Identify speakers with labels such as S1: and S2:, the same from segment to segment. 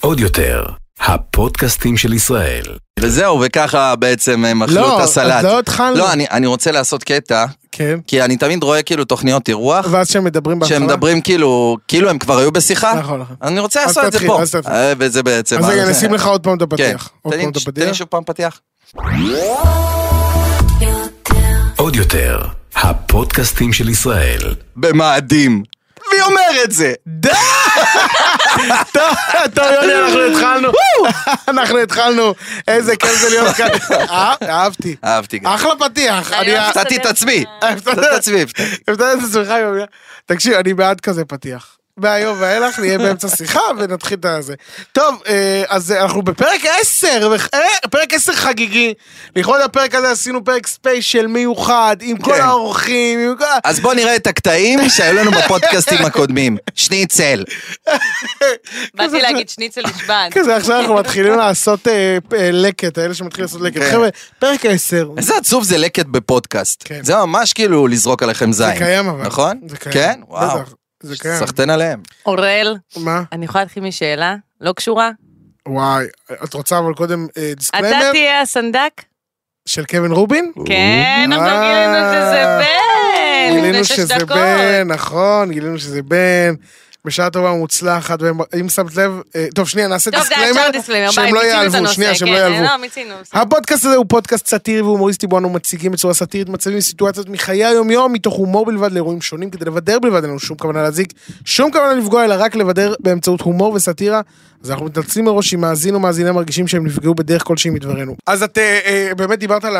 S1: עוד יותר, הפודקאסטים של ישראל.
S2: וזהו, וככה בעצם הם אכלו
S3: לא,
S2: את הסלט.
S3: אז לא התחלנו.
S2: לא, אני- אני רוצה לעשות קטע,
S3: כן.
S2: כי אני תמיד רואה כאילו תוכניות אירוח,
S3: ואז שהם מדברים בהתחלה.
S2: שהם מדברים כאילו, כאילו הם כבר היו בשיחה.
S3: נכון, נכון.
S2: אני רוצה
S3: אז
S2: לעשות את זה
S3: תתחיל,
S2: פה.
S3: אז תתחיל.
S2: אה, וזה בעצם...
S3: אז רגע,
S2: אה, זה-
S3: נשים לך אוקיי, עוד פעם את
S2: כן.
S3: הפתיח. עוד
S2: תן לי-
S3: פעם את
S2: תן לי
S3: הפתיח.
S2: שוב פעם פתיח.
S1: עוד יותר, הפודקאסטים של ישראל.
S2: במאדים. מי אומר את זה? די!
S3: טוב, יוני, אנחנו התחלנו. אנחנו התחלנו. איזה כיף זה להיות כאן. אה, אהבתי.
S2: אהבתי גם.
S3: אחלה פתיח. אני...
S4: היום
S2: הפתעתי את עצמי. הפתעתי את עצמי. הפתעתי.
S3: הבטחת את עצמך עם המילה. תקשיב, אני בעד כזה פתיח. מהיום ואילך נהיה באמצע שיחה ונתחיל את הזה. טוב, אה, אז אנחנו בפרק 10, וח- אה, פרק 10 חגיגי. לכבוד הפרק הזה עשינו פרק ספיישל מיוחד, עם כל
S2: כן.
S3: האורחים, עם כל... ה-
S2: אז בואו נראה את הקטעים שהיו לנו בפודקאסטים הקודמים. שניצל.
S4: באתי להגיד שניצל נשבן.
S3: כזה עכשיו אנחנו מתחילים לעשות אה, פ- אה, לקט, האלה שמתחילים לעשות לקט.
S2: כן.
S3: חבר'ה, פרק 10.
S2: איזה עצוב זה לקט בפודקאסט.
S3: כן.
S2: זה ממש כאילו לזרוק עליכם זין.
S3: זה קיים אבל.
S2: נכון?
S3: זה קיים.
S2: כן? וואו.
S3: בטח, זה קיים.
S2: סחטיין עליהם.
S4: אוראל,
S3: מה?
S4: אני יכולה להתחיל משאלה? לא קשורה?
S3: וואי, את רוצה אבל קודם אה,
S4: אתה
S3: דיסקליימר
S4: תהיה הסנדק?
S3: של קווין רובין?
S4: כן, אבל גילינו שזה בן! כן. לפני
S3: גילינו
S4: שש
S3: שזה
S4: דקות.
S3: בן, נכון, גילינו שזה בן. בשעה טובה ומוצלחת, ואם שמת לב, אה, טוב שנייה נעשה
S4: טוב, זה היה
S3: דיסקליימר,
S4: עכשיו דיסקליימר, ביי,
S3: שהם לא
S4: מיצינו את
S3: ייעלבו,
S4: הנושא,
S3: שנייה, שהם
S4: כן,
S3: לא אה? ייעלבו.
S4: לא, מיצינו.
S3: הפודקאסט הזה הוא פודקאסט סאטירי והומוריסטי בו אנו מציגים בצורה סאטירית מצבים וסיטואציות מחיי היום-יום, מתוך הומור בלבד לאירועים שונים, כדי לבדר בלבד, אין לנו שום כוונה להזיק, שום כוונה לפגוע, אלא רק לבדר באמצעות הומור וסאטירה. אז אנחנו מתנצלים מראש אם מאזין או מאזינה מרגישים שהם נפגעו בדרך כלשהי מדברנו. אז את אה, אה, באמת דיברת על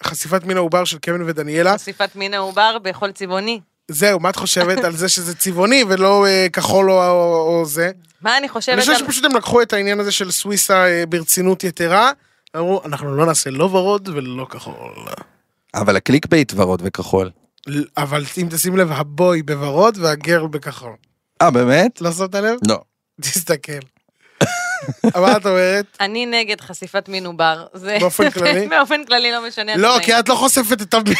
S3: החשיפת מין העובר של קווין ודניאלה.
S4: חשיפת מין העובר בחול צבעוני.
S3: זהו, מה את חושבת על זה שזה צבעוני ולא אה, כחול או, או, או זה?
S4: מה אני חושבת
S3: אני
S4: על...
S3: חושב שפשוט הם לקחו את העניין הזה של סוויסה אה, ברצינות יתרה. אמרו, אנחנו לא נעשה לא ורוד ולא כחול.
S2: אבל הקליק בייט ורוד וכחול.
S3: ל- אבל אם תשים לב, הבוי בוורוד והגרל בכחול.
S2: אה, באמת?
S3: לא שמת לב?
S2: לא.
S3: תסתכל. מה את אומרת?
S4: אני נגד חשיפת מין עובר. זה-
S3: באופן כללי?
S4: באופן כללי לא משנה.
S3: לא,
S4: התנאים.
S3: כי את לא חושפת את המין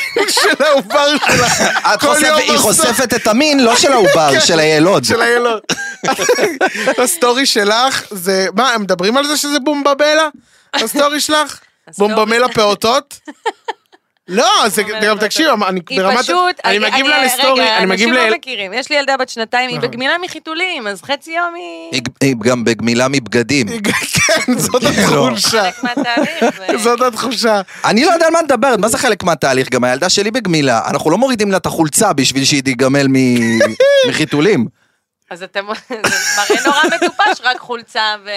S3: של העובר שלה.
S2: את
S3: כל
S2: חושפת-
S3: יום
S2: היא
S3: עושה- כן.
S2: חושפת את המין, לא של העובר, של הילוד.
S3: של הילוד. הסטורי שלך זה, מה, הם מדברים על זה שזה בומבבלה? הסטורי שלך?
S4: הסטורי.
S3: בומבמלה פעוט? לא, זה
S4: בומבמלה
S3: גם
S4: פעוטות.
S3: תקשיב, אני
S4: היא
S3: ברמת...
S4: פשוט,
S3: אני מגיב לה לסטורי, אני מגיב ל...
S4: רגע, אנשים לא מכירים, יש לי ילדה בת שנתיים, היא
S3: נכון.
S4: בגמילה מחיתולים, אז חצי יום היא...
S2: היא היא גם בגמילה מבגדים.
S3: כן, זאת התחושה.
S4: חלק מהתהליך. זה-
S3: זאת התחושה.
S2: אני לא יודע על מה את מדברת, מה זה חלק מהתהליך? גם הילדה שלי בגמילה, אנחנו לא מורידים לה את החולצה בשביל שהיא תיגמל מ- מחיתולים.
S4: אז אתם... זה מראה נורא מטופש, רק חולצה ו...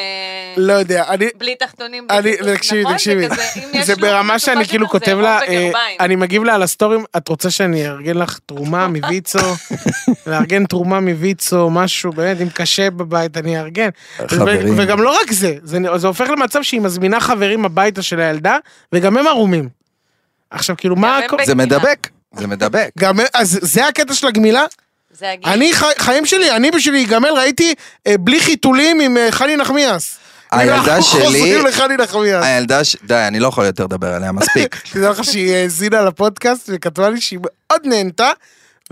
S3: לא יודע, אני...
S4: בלי תחתונים. בלי
S3: אני,
S4: חיתולים,
S3: תקשיבי,
S4: נכון?
S3: תקשיבי,
S4: זה כזה, אם יש
S3: זה
S4: לו
S3: ברמה
S4: מטופש
S3: שאני
S4: יותר,
S3: כאילו
S4: זה
S3: כותב
S4: רוב
S3: לה, אה,
S4: בקרביים.
S3: אני מגיב לה על הסטורים, את רוצה שאני אארגן לך תרומה מוויצו, לארגן תרומה מוויצו, משהו, באמת, אם קשה בבית אני אארגן.
S2: חברים.
S3: ו- וגם לא רק זה, זה, זה הופך למצב שהיא מזמינה חברים הביתה של הילדה, וגם הם ערומים. עכשיו, כאילו, מה...
S4: הם
S3: הכל-
S4: בגמילה.
S2: זה מדבק, זה מדבק.
S3: גם, הם- אז זה הקטע של הגמילה?
S4: זה הגיל.
S3: אני, חי- חיים שלי, אני בשביל להיגמל ראיתי אה, בלי חיתולים עם אה, חני נחמיאס.
S2: הילדה
S3: אנחנו
S2: שלי-
S3: חוזרים לחני נחמיאס.
S2: הילדה ש... די, אני לא יכול יותר לדבר עליה, מספיק.
S3: תדע לך לא שהיא האזינה לפודקאסט וכתבה לי שהיא מאוד נהנתה,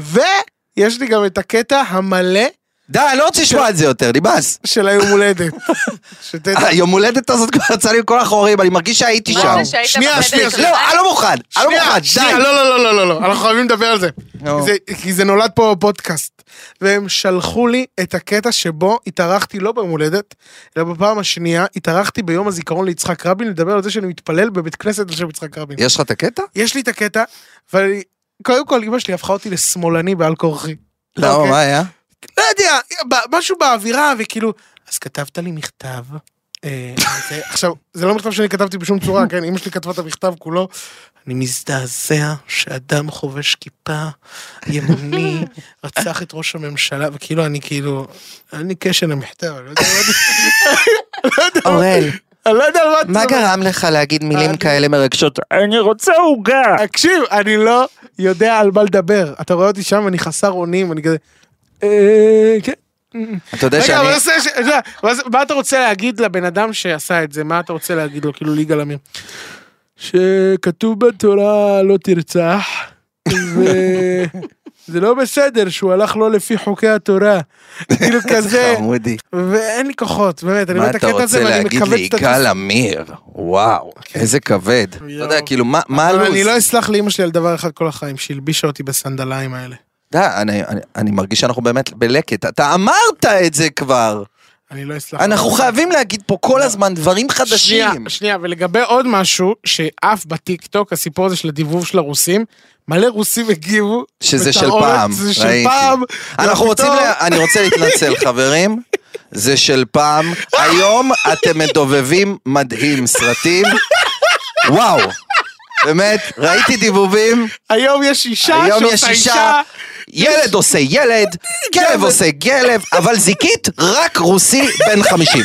S3: ויש לי גם את הקטע המלא
S2: די, אני לא רוצה לשמוע את זה יותר, נמאס.
S3: של היום הולדת. שתדע.
S2: היום הולדת הזאת כבר יצא לי מכל החורים, אני מרגיש שהייתי
S4: מה
S2: שם.
S4: זה שהיית
S3: שנייה,
S4: בחדר
S3: שנייה,
S4: שלך?
S2: לא, אני לא מוכן, אני לא מוכן,
S3: שנייה,
S2: די.
S3: לא, לא, לא, לא, לא, לא, אנחנו חייבים לדבר על זה.
S2: נו.
S3: זה- כי זה נולד פה פודקאסט. והם שלחו לי את הקטע שבו התארחתי לא ביום הולדת, אלא בפעם השנייה התארחתי ביום הזיכרון ליצחק רבין, לדבר על זה שאני מתפלל בבית כנסת על שם יצחק רבין.
S2: יש לך את הקטע?
S3: יש לי את הקטע, ואני... קודם כל, אמא שלי הפכה אותי לשמאלני בעל כורחי.
S2: למה,
S3: אוקיי.
S2: לא, מה היה?
S3: לא יודע, ב- משהו באווירה, וכאילו, אז כתבת לי מכתב. אה, זה- עכשיו, זה לא מכתב שאני כתבתי בשום צורה, כן? אמא שלי כתבה את המכתב כולו. אני מזדעזע שאדם חובש כיפה, ימני, רצח את ראש הממשלה, וכאילו, אני כאילו, אני קשר למכתב, אני לא יודע מה- לא יודע מה-
S2: אוראל,
S3: אני לא יודע על מה... את מדברת.
S2: לך להגיד
S3: אני-
S2: כאלה מרגשות?
S3: תקשיב, אני לא יודע על מה לדבר. אתה רואה אותי שם, אני חסר אונים, אני כזה... אה, כן.
S2: אתה יודע
S3: רגע,
S2: שאני...
S3: אבל עושה, ש- אתה יודע, ואז מה אתה רוצה להגיד לבן אדם שעשה את זה? מה אתה רוצה להגיד לו, כאילו ליגאל עמיר? שכתוב בתורה לא תרצח, ו... זה לא בסדר שהוא הלך לא לפי חוקי התורה. כאילו כזה,
S2: חמודי.
S3: ואין לי כוחות, באמת, אני
S2: אה, מה
S3: רואה את
S2: אתה
S3: הקטע הזה
S2: רוצה
S3: ואני
S2: להגיד
S3: מכווץ
S2: לי,
S3: את עצמי.
S2: יגאל עמיר? וואו, איזה כבד. אתה יודע,
S3: יואו.
S2: כאילו, מה- מה
S3: אבל אני לא
S2: הלו"ז?
S3: אסלח לאימא שלי על דבר אחד כל החיים, שהלבישה אותי בסנדליים האלה.
S2: אתה יודע, אני- אני- אני מרגיש שאנחנו באמת בלקט. אתה אמרת את זה כבר.
S3: אני לא אסלח.
S2: אנחנו חייבים להגיד פה כל הזמן דברים
S3: שנייה,
S2: חדשים.
S3: שנייה, ולגבי עוד משהו, שעף בטיקטוק, הסיפור הזה של הדיבוב של הרוסים, מלא רוסים הגיבו.
S2: שזה של
S3: בתרעומת,
S2: פעם,
S3: זה של
S2: ראיתי.
S3: פעם.
S2: אנחנו
S3: ופתאום-
S2: רוצים, לה- אני רוצה להתנצל, חברים. זה של פעם. היום אתם מדובבים מדהים סרטים. וואו. באמת, ראיתי דיבובים,
S3: היום יש אישה
S2: היום יש
S3: שעושה
S2: אישה,
S3: אישה.
S2: ילד עושה ילד, כלב עושה כלב, אבל זיקית, רק רוסי בן 50.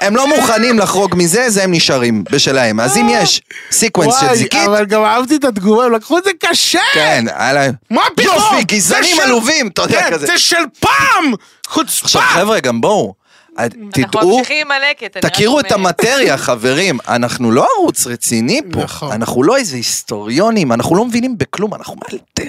S2: הם לא מוכנים לחרוג מזה, זה הם נשארים בשלהם. אז אם יש סיקוונס של
S3: וואי,
S2: זיקית,
S3: אבל גם אהבתי את התגובה, הם לקחו את זה קשה!
S2: כן, היה להם...
S3: מה פתאום?
S2: יופי,
S3: זה
S2: גזענים
S3: של-
S2: עלובים, אתה יודע,
S3: כן,
S2: כזה.
S3: זה של פעם! חוצפה!
S2: עכשיו חבר'ה, גם בואו,
S4: אנחנו
S2: תדעו,
S4: ממשיכים עם הלקט. אני רק
S2: תכירו את
S4: אומרת.
S2: המטריה, חברים. אנחנו לא ערוץ רציני פה,
S3: נכון.
S2: אנחנו לא איזה היסטוריונים, אנחנו לא מבינים בכלום, אנחנו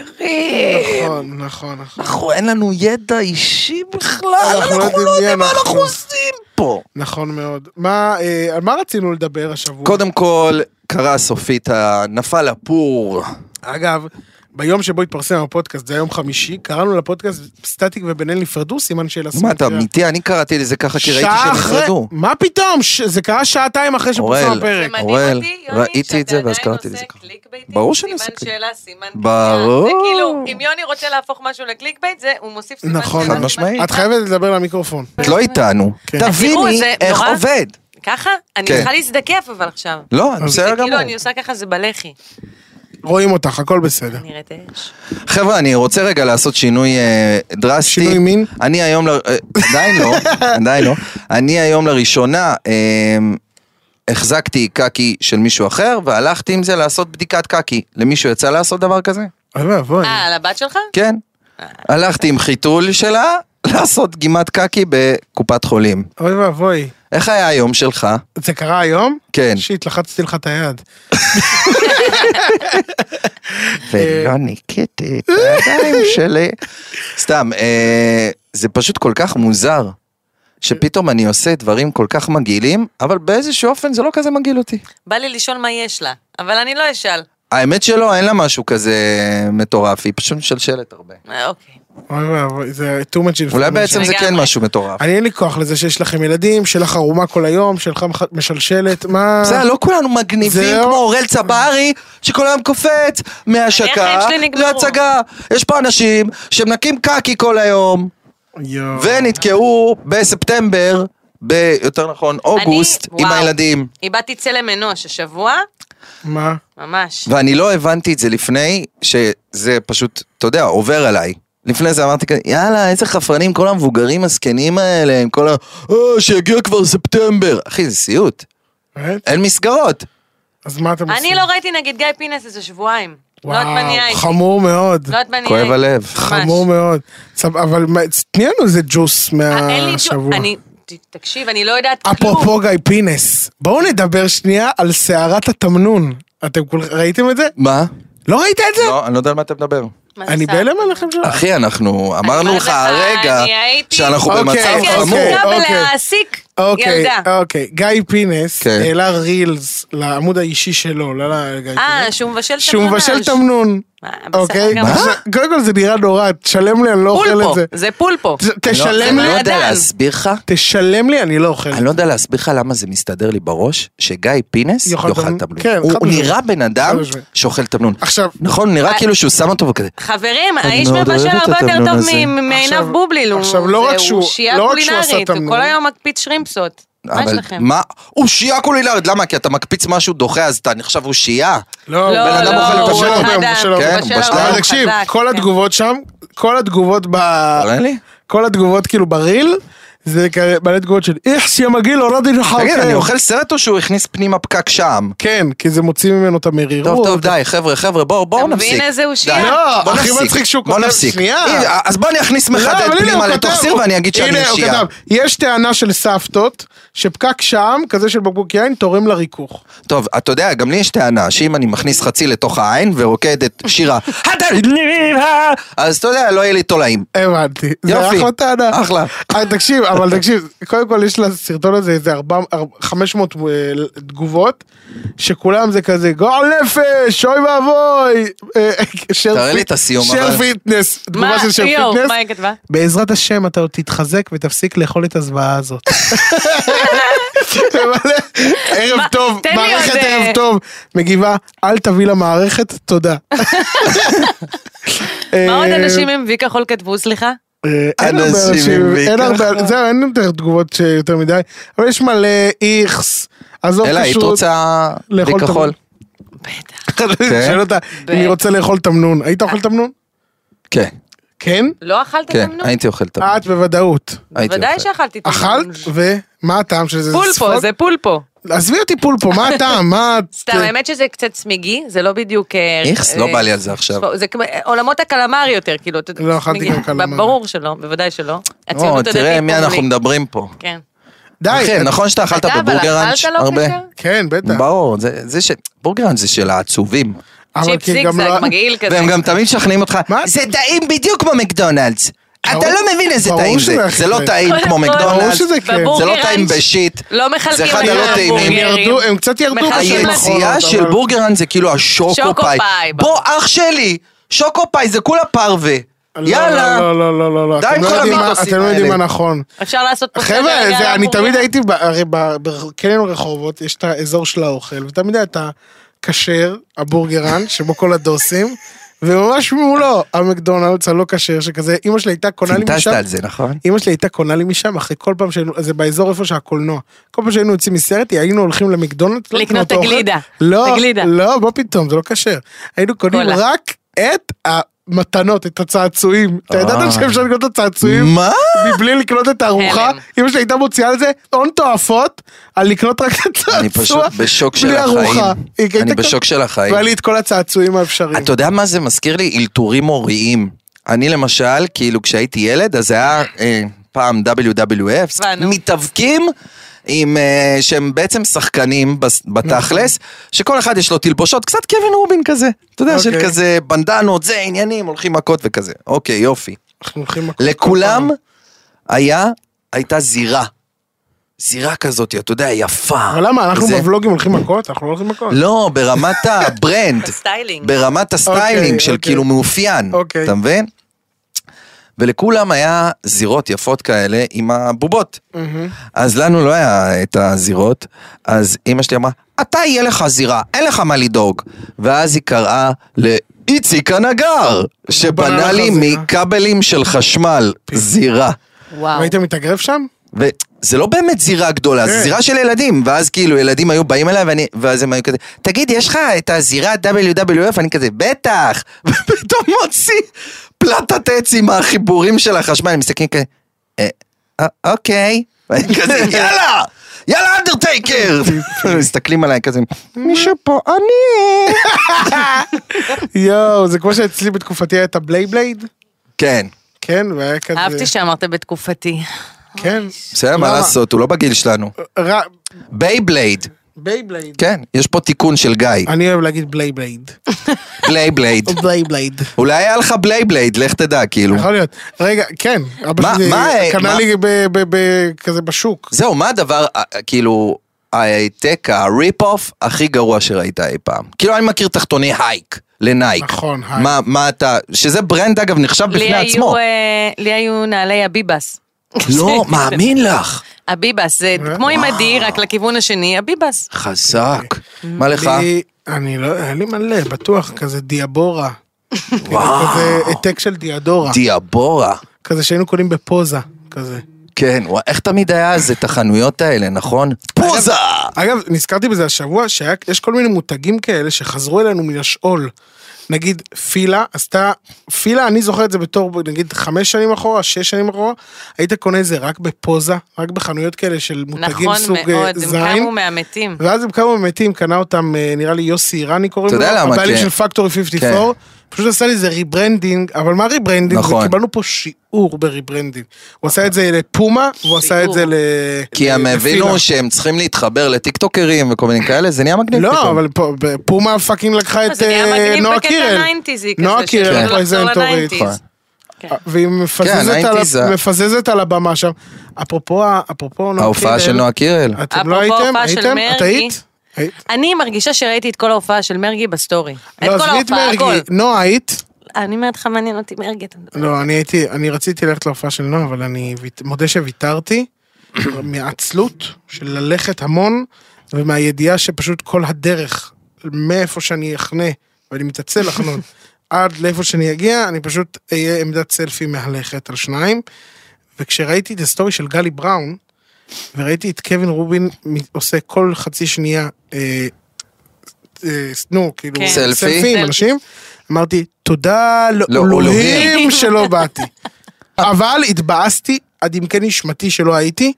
S2: מאלתרים.
S3: נכון, נכון, נכון.
S2: אנחנו, אין לנו ידע אישי בכלל,
S3: אנחנו לא
S2: אנחנו
S3: יודעים
S2: לא
S3: מי
S2: יודעים מה
S3: אנחנו.
S2: אנחנו עושים פה.
S3: נכון מאוד. מה, אה, על מה רצינו לדבר השבוע?
S2: קודם כל, קרה סופית, ה- נפל הפור.
S3: אגב, ביום שבו התפרסם הפודקאסט, זה היום חמישי, קראנו לפודקאסט סטטיק ובן אל נפרדו, סימן שאלה
S2: מה, אתה אמיתי? אני קראתי לזה ככה, כי ראיתי שהם נפרדו.
S3: מה פתאום? ש- זה קרה שעתיים אחרי שפורסם
S2: אורל.
S4: זה
S3: הפרק.
S4: מדהים
S2: אוראל,
S4: אותי,
S2: ראיתי
S4: יוני,
S2: את זה
S4: שאתה
S2: ואז
S4: עדיין
S2: קראתי לזה
S4: עושה
S2: ככה.
S4: קליק בייטים,
S2: ברור שאני עושה
S4: סימן
S2: קליק.
S4: שאלה, סימן קריאה.
S2: ברור.
S4: זה כאילו, אם יוני רוצה להפוך משהו לקליק בייט, זה, הוא מוסיף סימן
S3: נכון.
S4: שאלה.
S2: חד משמעית.
S3: את חייבת לדבר למיקרופון.
S2: את לא איתנו.
S3: כן.
S4: תראו,
S2: תביני
S4: זה
S2: איך
S4: נורא.
S2: עובד.
S4: ככה? אני
S2: כן.
S4: צריכה להזדקף אבל עכשיו.
S2: לא, בסדר
S4: זה כאילו,
S2: גמור.
S4: אני עושה ככה, זה בלחי.
S3: רואים אותך, הכל בסדר.
S4: נראית אש.
S2: חבר'ה, אני רוצה רגע לעשות שינוי אה, דרסטי.
S3: שינוי מין?
S2: אני היום, ל- אה, עדיין לא, עדיין לא. אני היום לראשונה אה, החזקתי קקי של מישהו אחר, והלכתי עם זה לעשות בדיקת קקי. למישהו יצא לעשות דבר כזה?
S3: אוי ואבוי.
S4: אה, על הבת שלך?
S2: כן. הלכתי עם חיתול שלה לעשות דגימת קקי בקופת חולים.
S3: אוי ואבוי.
S2: איך היה היום שלך?
S3: זה קרה היום?
S2: כן.
S3: שיט, לחצתי לך את היד.
S2: ולא ניקטתי את הידיים שלי. סתם, אה, זה פשוט כל כך מוזר, שפתאום אני עושה דברים כל כך מגעילים, אבל באיזשהו אופן זה לא כזה מגעיל אותי.
S4: בא לי לשאול מה יש לה, אבל אני לא אשאל.
S2: האמת שלא, אין לה משהו כזה מטורף, היא פשוט משלשלת הרבה.
S4: אה, אוקיי.
S3: אוי ואבוי, זה too much information.
S2: אולי בעצם זה כן
S4: לגמרי.
S2: משהו מטורף.
S3: אני אין לי כוח לזה שיש לכם ילדים, שלך ערומה כל היום, שלך מח- משלשלת, מה...
S2: בסדר, לא כולנו מגניבים
S3: זהו.
S2: כמו אוראל צברי, שכל היום קופץ מהשקה
S4: איך החיים שלי נגמרו?
S2: להצגה. יש פה אנשים שמנקים קקי כל היום,
S3: יואו.
S2: ונתקעו בספטמבר, ביותר נכון, אוגוסט, עם
S4: וואו.
S2: הילדים.
S4: איבדתי צלם אנוש השבוע,
S3: מה?
S4: ממש.
S2: ואני לא הבנתי את זה לפני, שזה פשוט, אתה יודע, עובר עליי. לפני זה אמרתי כזה, יאללה, איזה חפרנים, כל המבוגרים הזקנים האלה, עם כל ה... אה, שיגיע כבר ספטמבר. אחי, זה סיוט.
S3: באמת?
S2: אין מסגרות.
S3: אז מה אתם עושים?
S4: אני לא ראיתי נגיד גיא פינס איזה שבועיים. לא יודעת מה נהיה איתי.
S3: חמור מאוד.
S4: לא יודעת מה נהיה
S2: כואב
S4: איתי.
S2: הלב.
S3: חמור מאוד. סב- אבל מה- תני לנו איזה ג'וס
S4: אה, אין לי תשוב-
S3: מהשבוע.
S4: אני... ת- תקשיב, אני לא יודעת כלום.
S3: אפרופו גיא פינס, בואו נדבר שנייה על סערת התמנון. אתם כול- ראיתם את זה?
S2: מה?
S3: לא ראית את זה?
S2: לא, אני לא יודע על מה אתה מדבר.
S4: מה זה
S3: אני
S4: סערת?
S3: בהלם עליכם שלא.
S2: אחי, אנחנו אמרנו
S4: אומרת
S2: לך
S4: לך,
S2: הרגע
S4: אני הייתי-
S2: שאנחנו
S3: אוקיי,
S2: במצב
S4: רגע,
S2: חמור.
S3: אוקיי,
S4: עסוקה
S3: אוקיי.
S4: בלהעסיק
S3: אוקיי,
S4: ילדה.
S3: אוקיי. גיא פינס
S2: כן.
S3: העלה רילס לעמוד האישי שלו, לא לגיא פינס.
S4: אה, שהוא מבשל תמנון.
S3: שהוא מבשל
S4: אז-
S3: תמנון.
S4: אה, בסדר
S3: אוקיי?
S4: גמור.
S3: עכשיו, קודם כל זה נראה נורא, תשלם לי, אני לא אוכל
S4: פולפו,
S3: את זה.
S4: זה פולפו.
S3: ת-
S2: אני לא-
S3: תשלם
S2: אני לא
S3: לי,
S2: יודע
S4: לאדם.
S2: להסביר לך,
S3: תשלם לי, אני לא אוכל.
S2: אני לא יודע להסביר לך למה זה מסתדר לי בראש, שגיא פינס
S3: יאכל
S2: יאכל
S3: תמנון.
S2: תמנון.
S3: כן,
S2: הוא
S3: חד
S2: הוא
S3: משמעית.
S2: נראה בן אדם
S3: חד משמעית.
S2: שאוכל תמנון.
S3: עכשיו,
S2: נכון, נראה כאילו שהוא שם אותו וכזה.
S4: חברים,
S2: אני
S4: האיש
S2: מאוד
S4: מבשל
S2: אוהבת את
S4: הרבה יותר
S2: התמנון
S4: טוב
S2: הזה.
S4: מ- מעינב
S3: עכשיו-
S4: בובליל. הוא-
S3: עכשיו, לא
S4: זה-
S3: רק שהוא-
S4: הוא שיעה
S3: לא רק שהוא עשה
S4: קולינרית, הוא
S3: תמנון.
S4: כל היום מקפיץ שרימפסות. מה יש
S2: אבל
S4: לכם?
S2: מה? הוא שיעה קולינרית, למה? כי אתה מקפיץ משהו דוחה, אז אתה נחשב הוא שיעה.
S3: לא,
S4: לא,
S2: בן אדם
S4: לא,
S2: אוכל
S4: הוא
S2: לבשל הרבה,
S4: חדש,
S2: הוא
S3: מבשל הרבה.
S2: כן,
S4: מבשל
S2: הוא בשלב.
S4: הרבה,
S3: אבל
S4: הוא
S3: תקשיב,
S4: חזק,
S3: כל
S4: כן.
S3: התגובות שם, כל התגובות ב...
S2: תראה לי.
S3: כל התגובות כאילו בריל, זה כאלה מלא תגובות של איכס יא מגעיל, הורדתי לך
S2: תגיד,
S3: עוקב."
S2: אני אוכל סרט או שהוא הכניס פנימה פקק שם?
S3: כן, כי זה מוציא ממנו את המרירות.
S2: טוב, טוב, די, חבר'ה, חבר'ה, בואו בואו
S4: אתה
S2: נפסיק.
S4: מבין איזה הוא
S2: די,
S4: שיעה?
S3: לא,
S2: בואו
S3: הכי
S2: נפסיק,
S3: מצחיק שהוא
S2: בואו
S3: כותב-
S2: נפסיק.
S3: שנייה.
S2: הנה, אז בוא אני אכניס
S3: לא,
S2: מחדד
S3: אבל הנה,
S2: פנימה
S3: הוא
S2: לתוך
S3: כותב-
S2: סיר
S3: הוא-
S2: ואני אגיד שאני
S3: הנה, הוא
S2: שיעה.
S3: כתב, יש טענה של סבתות שפקק שם, כזה של בקבוק יין, תורם לריכוך.
S2: טוב, אתה יודע, גם לי יש טענה, שאם אני מכניס חצי לתוך העין ורוקד את שירה, אז אתה יודע, לא יהיה לי תולעים.
S3: הבנתי. זה
S2: יופי.
S3: אחלה טענה.
S2: אחלה.
S3: אה, תקשיב, אבל תקשיב, קודם כל יש לסרטון הזה איזה 400, 500 אה, תגובות, שכולם זה כזה גועל נפש, אוי ואבוי. אה, שר
S2: תראה לי
S3: פיט-
S2: את הסיום,
S3: שר
S2: אבל.
S3: פיטנס,
S4: מה,
S3: תגובה של שר
S4: יואו,
S3: פיטנס.
S4: מה היא כתבה?
S3: בעזרת השם אתה עוד תתחזק ותפסיק לאכול את הזוועה הזאת. מלא, ערב
S4: מה,
S3: טוב,
S4: תן לי
S3: מערכת
S4: עוד,
S3: ערב
S4: אה,
S3: טוב, מגיבה, אל תביא למערכת, תודה.
S4: מה עוד אנשים עם וי כחול כתבו, סליחה?
S3: אה, אין הרבה
S2: אנשים
S3: אנשים,
S2: עם
S3: אין הרבה,
S2: בעיקר.
S3: זהו, אין יותר תגובות שיותר מדי, אבל יש מלא איכס, עזוב
S2: אלא, היית
S3: לא פשוט,
S2: רוצה כן?
S3: לאכול את
S2: בכחול?
S4: בטח.
S3: שואל אותה אם היא רוצה לאכול תמנון, היית
S4: אה.
S3: אוכל תמנון?
S2: כן,
S3: כן?
S4: לא אכלת
S2: כן,
S4: תמנון?
S2: הייתי אוכל תמנון.
S3: את בוודאות.
S2: הייתי
S4: בוודאי
S2: אוכל.
S4: שאכלתי תמנון.
S3: אכלת? ומה הטעם של זה? זה
S4: אה. פולפו,
S3: ספוג?
S4: זה פולפו.
S3: עזבי אותי פולפו, מה הטעם? מה... את-
S4: סתם, האמת שזה קצת צמיגי, זה לא בדיוק... אה,
S2: איכס,
S4: אה,
S2: לא בא לי על זה עכשיו.
S4: זה כמו אה, עולמות הקלמרי יותר, כאילו, אתה יודע,
S3: לא אכלתי
S4: צמיגי.
S3: גם קלמרי.
S4: ברור שלא, בוודאי שלא.
S2: או,
S4: הציונות הדתית
S2: לא, תראה מי
S4: פה
S2: אנחנו
S4: בלי.
S2: מדברים פה.
S4: כן.
S3: די.
S2: אחי,
S3: את-
S2: נכון שאתה אכלת
S4: אתה, אבל
S2: בבורגראנץ'
S4: אכלת לא
S2: הרבה?
S4: כשר?
S3: כן, אה, בטח.
S2: ברור, זה זה ש... בורגראנץ' זה של העצובים.
S3: אבל
S4: צ'יפ
S3: כי גם
S4: זיגזג,
S3: לא-
S4: מגעיל כזה.
S2: והם גם תמיד משכנעים אותך,
S3: מה?
S2: זה טעים בדיוק כמו מקדונלדס.
S3: ברור-
S2: אתה לא מבין איזה
S3: ברור
S2: טעים
S3: שזה
S2: זה.
S3: הכי
S2: זה לא
S3: טעים.
S2: טעים כמו
S4: קודם כל,
S2: מקדונלדס.
S3: שזה כן.
S2: זה לא
S4: בבורגראנץ'
S2: טעים בשיט.
S4: לא מחלקים
S2: זה אחד
S4: את
S2: הלא טעימים.
S3: הם
S4: ההמבורגרים.
S3: ירדו, הם קצת ירדו
S4: מחלקים
S3: בשנים
S4: להם.
S2: אה, היציאה
S3: האחרונות,
S2: של
S3: אבל-
S2: בורגראנץ' זה כאילו השוקו
S4: שוקו
S2: פאי.
S4: פאי,
S2: בוא, אח שלי, שוקו פאי זה כולה פרווה.
S3: לא,
S2: יאללה.
S3: לא, לא, לא, לא, לא.
S2: די
S3: אתם
S2: עם
S3: לא
S2: כל
S3: יודעים מה-
S2: המיתוסים
S3: אתם לא יודעים מה
S2: האלה.
S3: נכון.
S4: אפשר לעשות פה
S3: חבר'ה,
S4: סדר על
S3: זה- אני
S4: ההמבורגרים.
S3: תמיד הייתי, ב- הרי ב- בקניון רחובות יש את האזור של האוכל, ותמיד היה את הכשר, הבורגרן, שבו כל הדוסים, וממש מולו המקדונלדס הלא כשר, שכזה, אימא שלי הייתה קונה לי
S2: פינטזת
S3: משם,
S2: על זה, נכון?
S3: אימא שלי הייתה קונה לי משם, אחרי כל פעם שהיינו, זה באזור איפה שהקולנוע. כל פעם שהיינו יוצאים מסרט, היינו הולכים למקדונלדס, לא לקנות
S4: לקנות
S3: אוכל.
S4: תגלידה.
S3: לא,
S4: תגלידה.
S3: לא, מה פתאום, זה לא כשר. היינו קונים
S4: קולה.
S3: רק את המתנות, את הצעצועים. אתה ידעת
S2: אה.
S3: שאפשר לקנות את הצעצועים?
S2: מה?
S3: מבלי לקנות את הארוחה,
S4: הלם.
S3: אמא שלי הייתה מוציאה על זה הון תועפות, על לקנות רק את הצעצוע.
S2: אני פשוט בשוק של
S3: בלי ארוחה.
S2: החיים.
S3: היא הייתה
S2: אני
S3: כל-
S2: בשוק של החיים.
S3: והיה לי את כל הצעצועים האפשריים.
S2: אתה יודע מה זה מזכיר לי? אלתורים הוריים. אני למשל, כאילו כשהייתי ילד, אז זה היה אה, פעם WWF,
S4: הבנו.
S2: מתאבקים עם, אה, שהם בעצם שחקנים בס- בתכלס, שכל אחד יש לו תלבושות, קצת קווין רובין כזה. אתה יודע, של
S3: אוקיי.
S2: כזה בנדנות, זה עניינים, הולכים מכות וכזה. אוקיי, יופי.
S3: אנחנו הולכים מכות.
S2: לכולם היה, הייתה זירה. זירה כזאת, אתה יודע, יפה.
S3: אבל למה, אנחנו
S2: לא, זה-
S3: בוולוגים הולכים מכות? אנחנו לא הולכים מכות.
S2: לא, ברמת הברנד.
S4: הסטיילינג.
S2: ברמת
S3: אוקיי,
S2: הסטיילינג של
S3: אוקיי.
S2: כאילו מאופיין,
S3: אוקיי.
S2: אתה מבין? ולכולם היה זירות יפות כאלה עם הבובות.
S3: מהמם.
S2: אז לנו לא היה את הזירות, אז אימא שלי אמרה, אתה יהיה לך זירה, אין לך מה לדאוג. ואז היא קראה לאיציק הנגר,
S3: בנה
S2: שבנה
S3: לך
S2: לי
S3: זירה.
S2: מכבלים של חשמל זירה.
S4: וואו.
S3: והיית מתאגרף שם?
S2: וזה לא באמת זירה גדולה,
S3: כן.
S2: זה זירה של ילדים, ואז כאילו ילדים היו באים אליי, ואני, ואז הם היו כזה, תגיד, יש לך את הזירה WWF? אני כזה, בטח! ופתאום מוציא פלטת עץ עם החיבורים של החשמל, הם מסתכלים כזה, "אה, א- אוקיי. ואני כזה, יאללה! יאללה, אנדרטייקר! מסתכלים עליי כזה, מישהו פה, אני...
S3: יואו, זה כמו שאצלי בתקופתי היה את הבליי בלייד?
S2: כן,
S3: כן, והיה כזה...
S4: אהבתי שאמרת בתקופתי.
S3: כן.
S2: בסדר, מה
S3: למה?
S2: לעשות, הוא לא בגיל שלנו.
S3: ר-
S2: בייבלייד,
S3: בייבלייד.
S2: כן, יש פה תיקון של גיא,
S3: אני אוהב להגיד בליי בלייד.
S2: בלייבלייד.
S3: בליי בלייד.
S2: אולי היה לך בלייבלייד, לך תדע, כאילו.
S3: יכול להיות. רגע, כן. אבא
S2: מה-
S3: שלי
S2: מה, אה,
S3: קנה
S2: מה-
S3: לי ב- ב- ב- כזה בשוק.
S2: זהו, מה הדבר, אה, אה, כאילו, ההעתק, הריפ אוף, הכי גרוע שראית אי פעם? כאילו, אני מכיר תחתוני הייק, לנייק.
S3: נכון, הייק.
S2: מה, מה אתה, שזה ברנד, אגב, נחשב בפני
S4: לי
S2: עצמו.
S4: היו, אה, לי היו נעלי הביבס.
S2: לא, מאמין לך.
S4: הביבס, זה
S3: אה?
S4: כמו עם אדיר, רק לכיוון השני, הביבס.
S2: חזק. מה לך?
S3: לי- אני לא, היה לי מלא, בטוח, כזה דיאבורה.
S2: וואו.
S3: כזה העתק של דיאדורה.
S2: דיאבורה.
S3: כזה שהיינו קונים בפוזה, כזה.
S2: כן, וואי, איך תמיד היה אז את החנויות האלה, נכון? פוזה!
S3: אגב, נזכרתי בזה השבוע, שיש כל מיני מותגים כאלה שחזרו אלינו מן השאול. נגיד פילה עשתה, פילה אני זוכר את זה בתור נגיד חמש שנים אחורה, שש שנים אחורה, היית קונה את זה רק בפוזה, רק בחנויות כאלה של מותגים
S4: נכון
S3: סוג אה,
S4: מאוד, הם
S3: זין, לא.
S4: קמו מהמתים.
S3: ואז הם קמו מתים, קנה אותם אה, נראה לי יוסי אירני קוראים
S2: אתה
S3: לו,
S2: יודע למה?
S3: הבעלים
S2: כן.
S3: של פקטורי 54, פשוט עשה לי איזה ריברנדינג, אבל מה ריברנדינג?
S2: נכון.
S3: נכון. קיבלנו פה שיעור בריברנדינג. הוא עשה את זה לפומה, והוא עשה את זה ל...
S2: כי הם
S3: ל- לפילה.
S2: הבינו שהם צריכים להתחבר לטיקטוקרים וכל מיני כאלה, זה נהיה מגניב פתאום.
S3: לא, אבל פה- ב- פומה פאקינג לקחה את
S4: זה נהיה
S3: אה,
S4: מגניב
S3: נועה
S4: בקטע
S3: קירל.
S4: ניינטיזי כזה.
S3: נועה קירל,
S4: שהתחילו לחזור
S3: פרזנטורית.
S2: אה,
S4: לניינטיז. כן.
S3: והיא מפזזת,
S2: נכון. כן,
S3: על,
S2: ה-
S3: ה- מפזזת על הבמה שם. אפרופו, ה- אפרופו נועה
S2: ההופעה של נועה קירל.
S3: אתם
S4: אפרופו
S3: לא הייתם?
S4: ההופעה של
S3: הייתם? את
S4: מרגי.
S3: היית? היית?
S4: אני מרגישה שראיתי את כל ההופעה של מרגי בסטורי. את
S3: לא,
S4: כל
S3: עזבי את
S4: ההופעה,
S3: מרגי.
S4: הכל.
S3: נועה, היית?
S4: אני אומרת לך, מעניין אותי מרגי, אתה מדבר.
S3: לא, אני הייתי, אני רציתי ללכת להופעה של נועה, אבל אני ויט- מודה שוויתרתי מעצלות של ללכת המון, ומהידיעה שפשוט כל הדרך, מאיפה שאני אחנה, ואני מתעצל לחנות, עד לאיפה שאני אגיע, אני פשוט אהיה עמדת סלפי מהלכת על שניים. וכשראיתי את הסטורי של גלי בראון, וראיתי את קווין רובין מ- עושה כל חצי שנייה, אה, אה, נו, כאילו,
S4: כן.
S2: סלפי.
S3: סלפי עם אנשים, אמרתי, תודה לאלוהים
S2: לא, אלוהים."
S3: שלא באתי. אבל התבאסתי עד עמקי נשמתי שלא הייתי,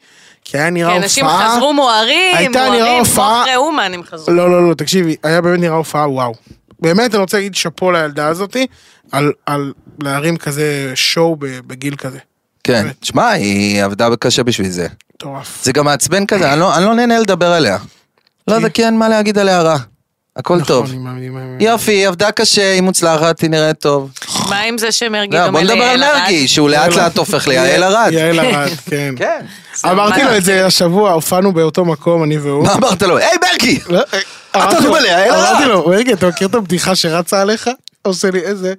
S3: כי היה נראה
S4: כי
S3: לא הופעה...
S4: אנשים חזרו מוערים,
S3: הייתה נראה
S4: מוערים,
S3: הופעה-
S4: כמו ראומן הם חזרו.
S3: לא, לא, לא, תקשיבי, היה באמת נראה הופעה וואו. באמת, אני רוצה להגיד שאפו לילדה הזאתי, על- על להרים כזה שואו ב- בגיל כזה.
S2: כן. שמע, היא עבדה קשה בשביל זה.
S3: מטורף.
S2: זה גם מעצבן כזה, אני לא- אני לא נהנה לדבר עליה. לא יודע, כי אין מה להגיד עליה רע. הכל
S3: נכון,
S2: טוב.
S3: עם ה- עם ה-
S2: יופי, היא עבדה קשה, היא מוצלחת, היא נראית טוב.
S4: מה עם זה שמרגי
S2: לא,
S4: דומה
S2: בוא נדבר על
S4: ליעל ארד?
S2: מרגי, שהוא לאט לאט הופך ליעל ארד.
S3: יעל ארד, כן.
S2: כן.
S3: אמרתי לו את זה השבוע, הופענו באותו מקום, אני והוא.
S2: מה אמרת לו? היי מרגי!
S3: לא,
S4: אה,
S3: אמרתי לו-
S2: דומה ליעל ארד.
S3: אמרתי לו, רגע, אתה מכיר את הבדיחה שרצה עליך? עושה לי איזה...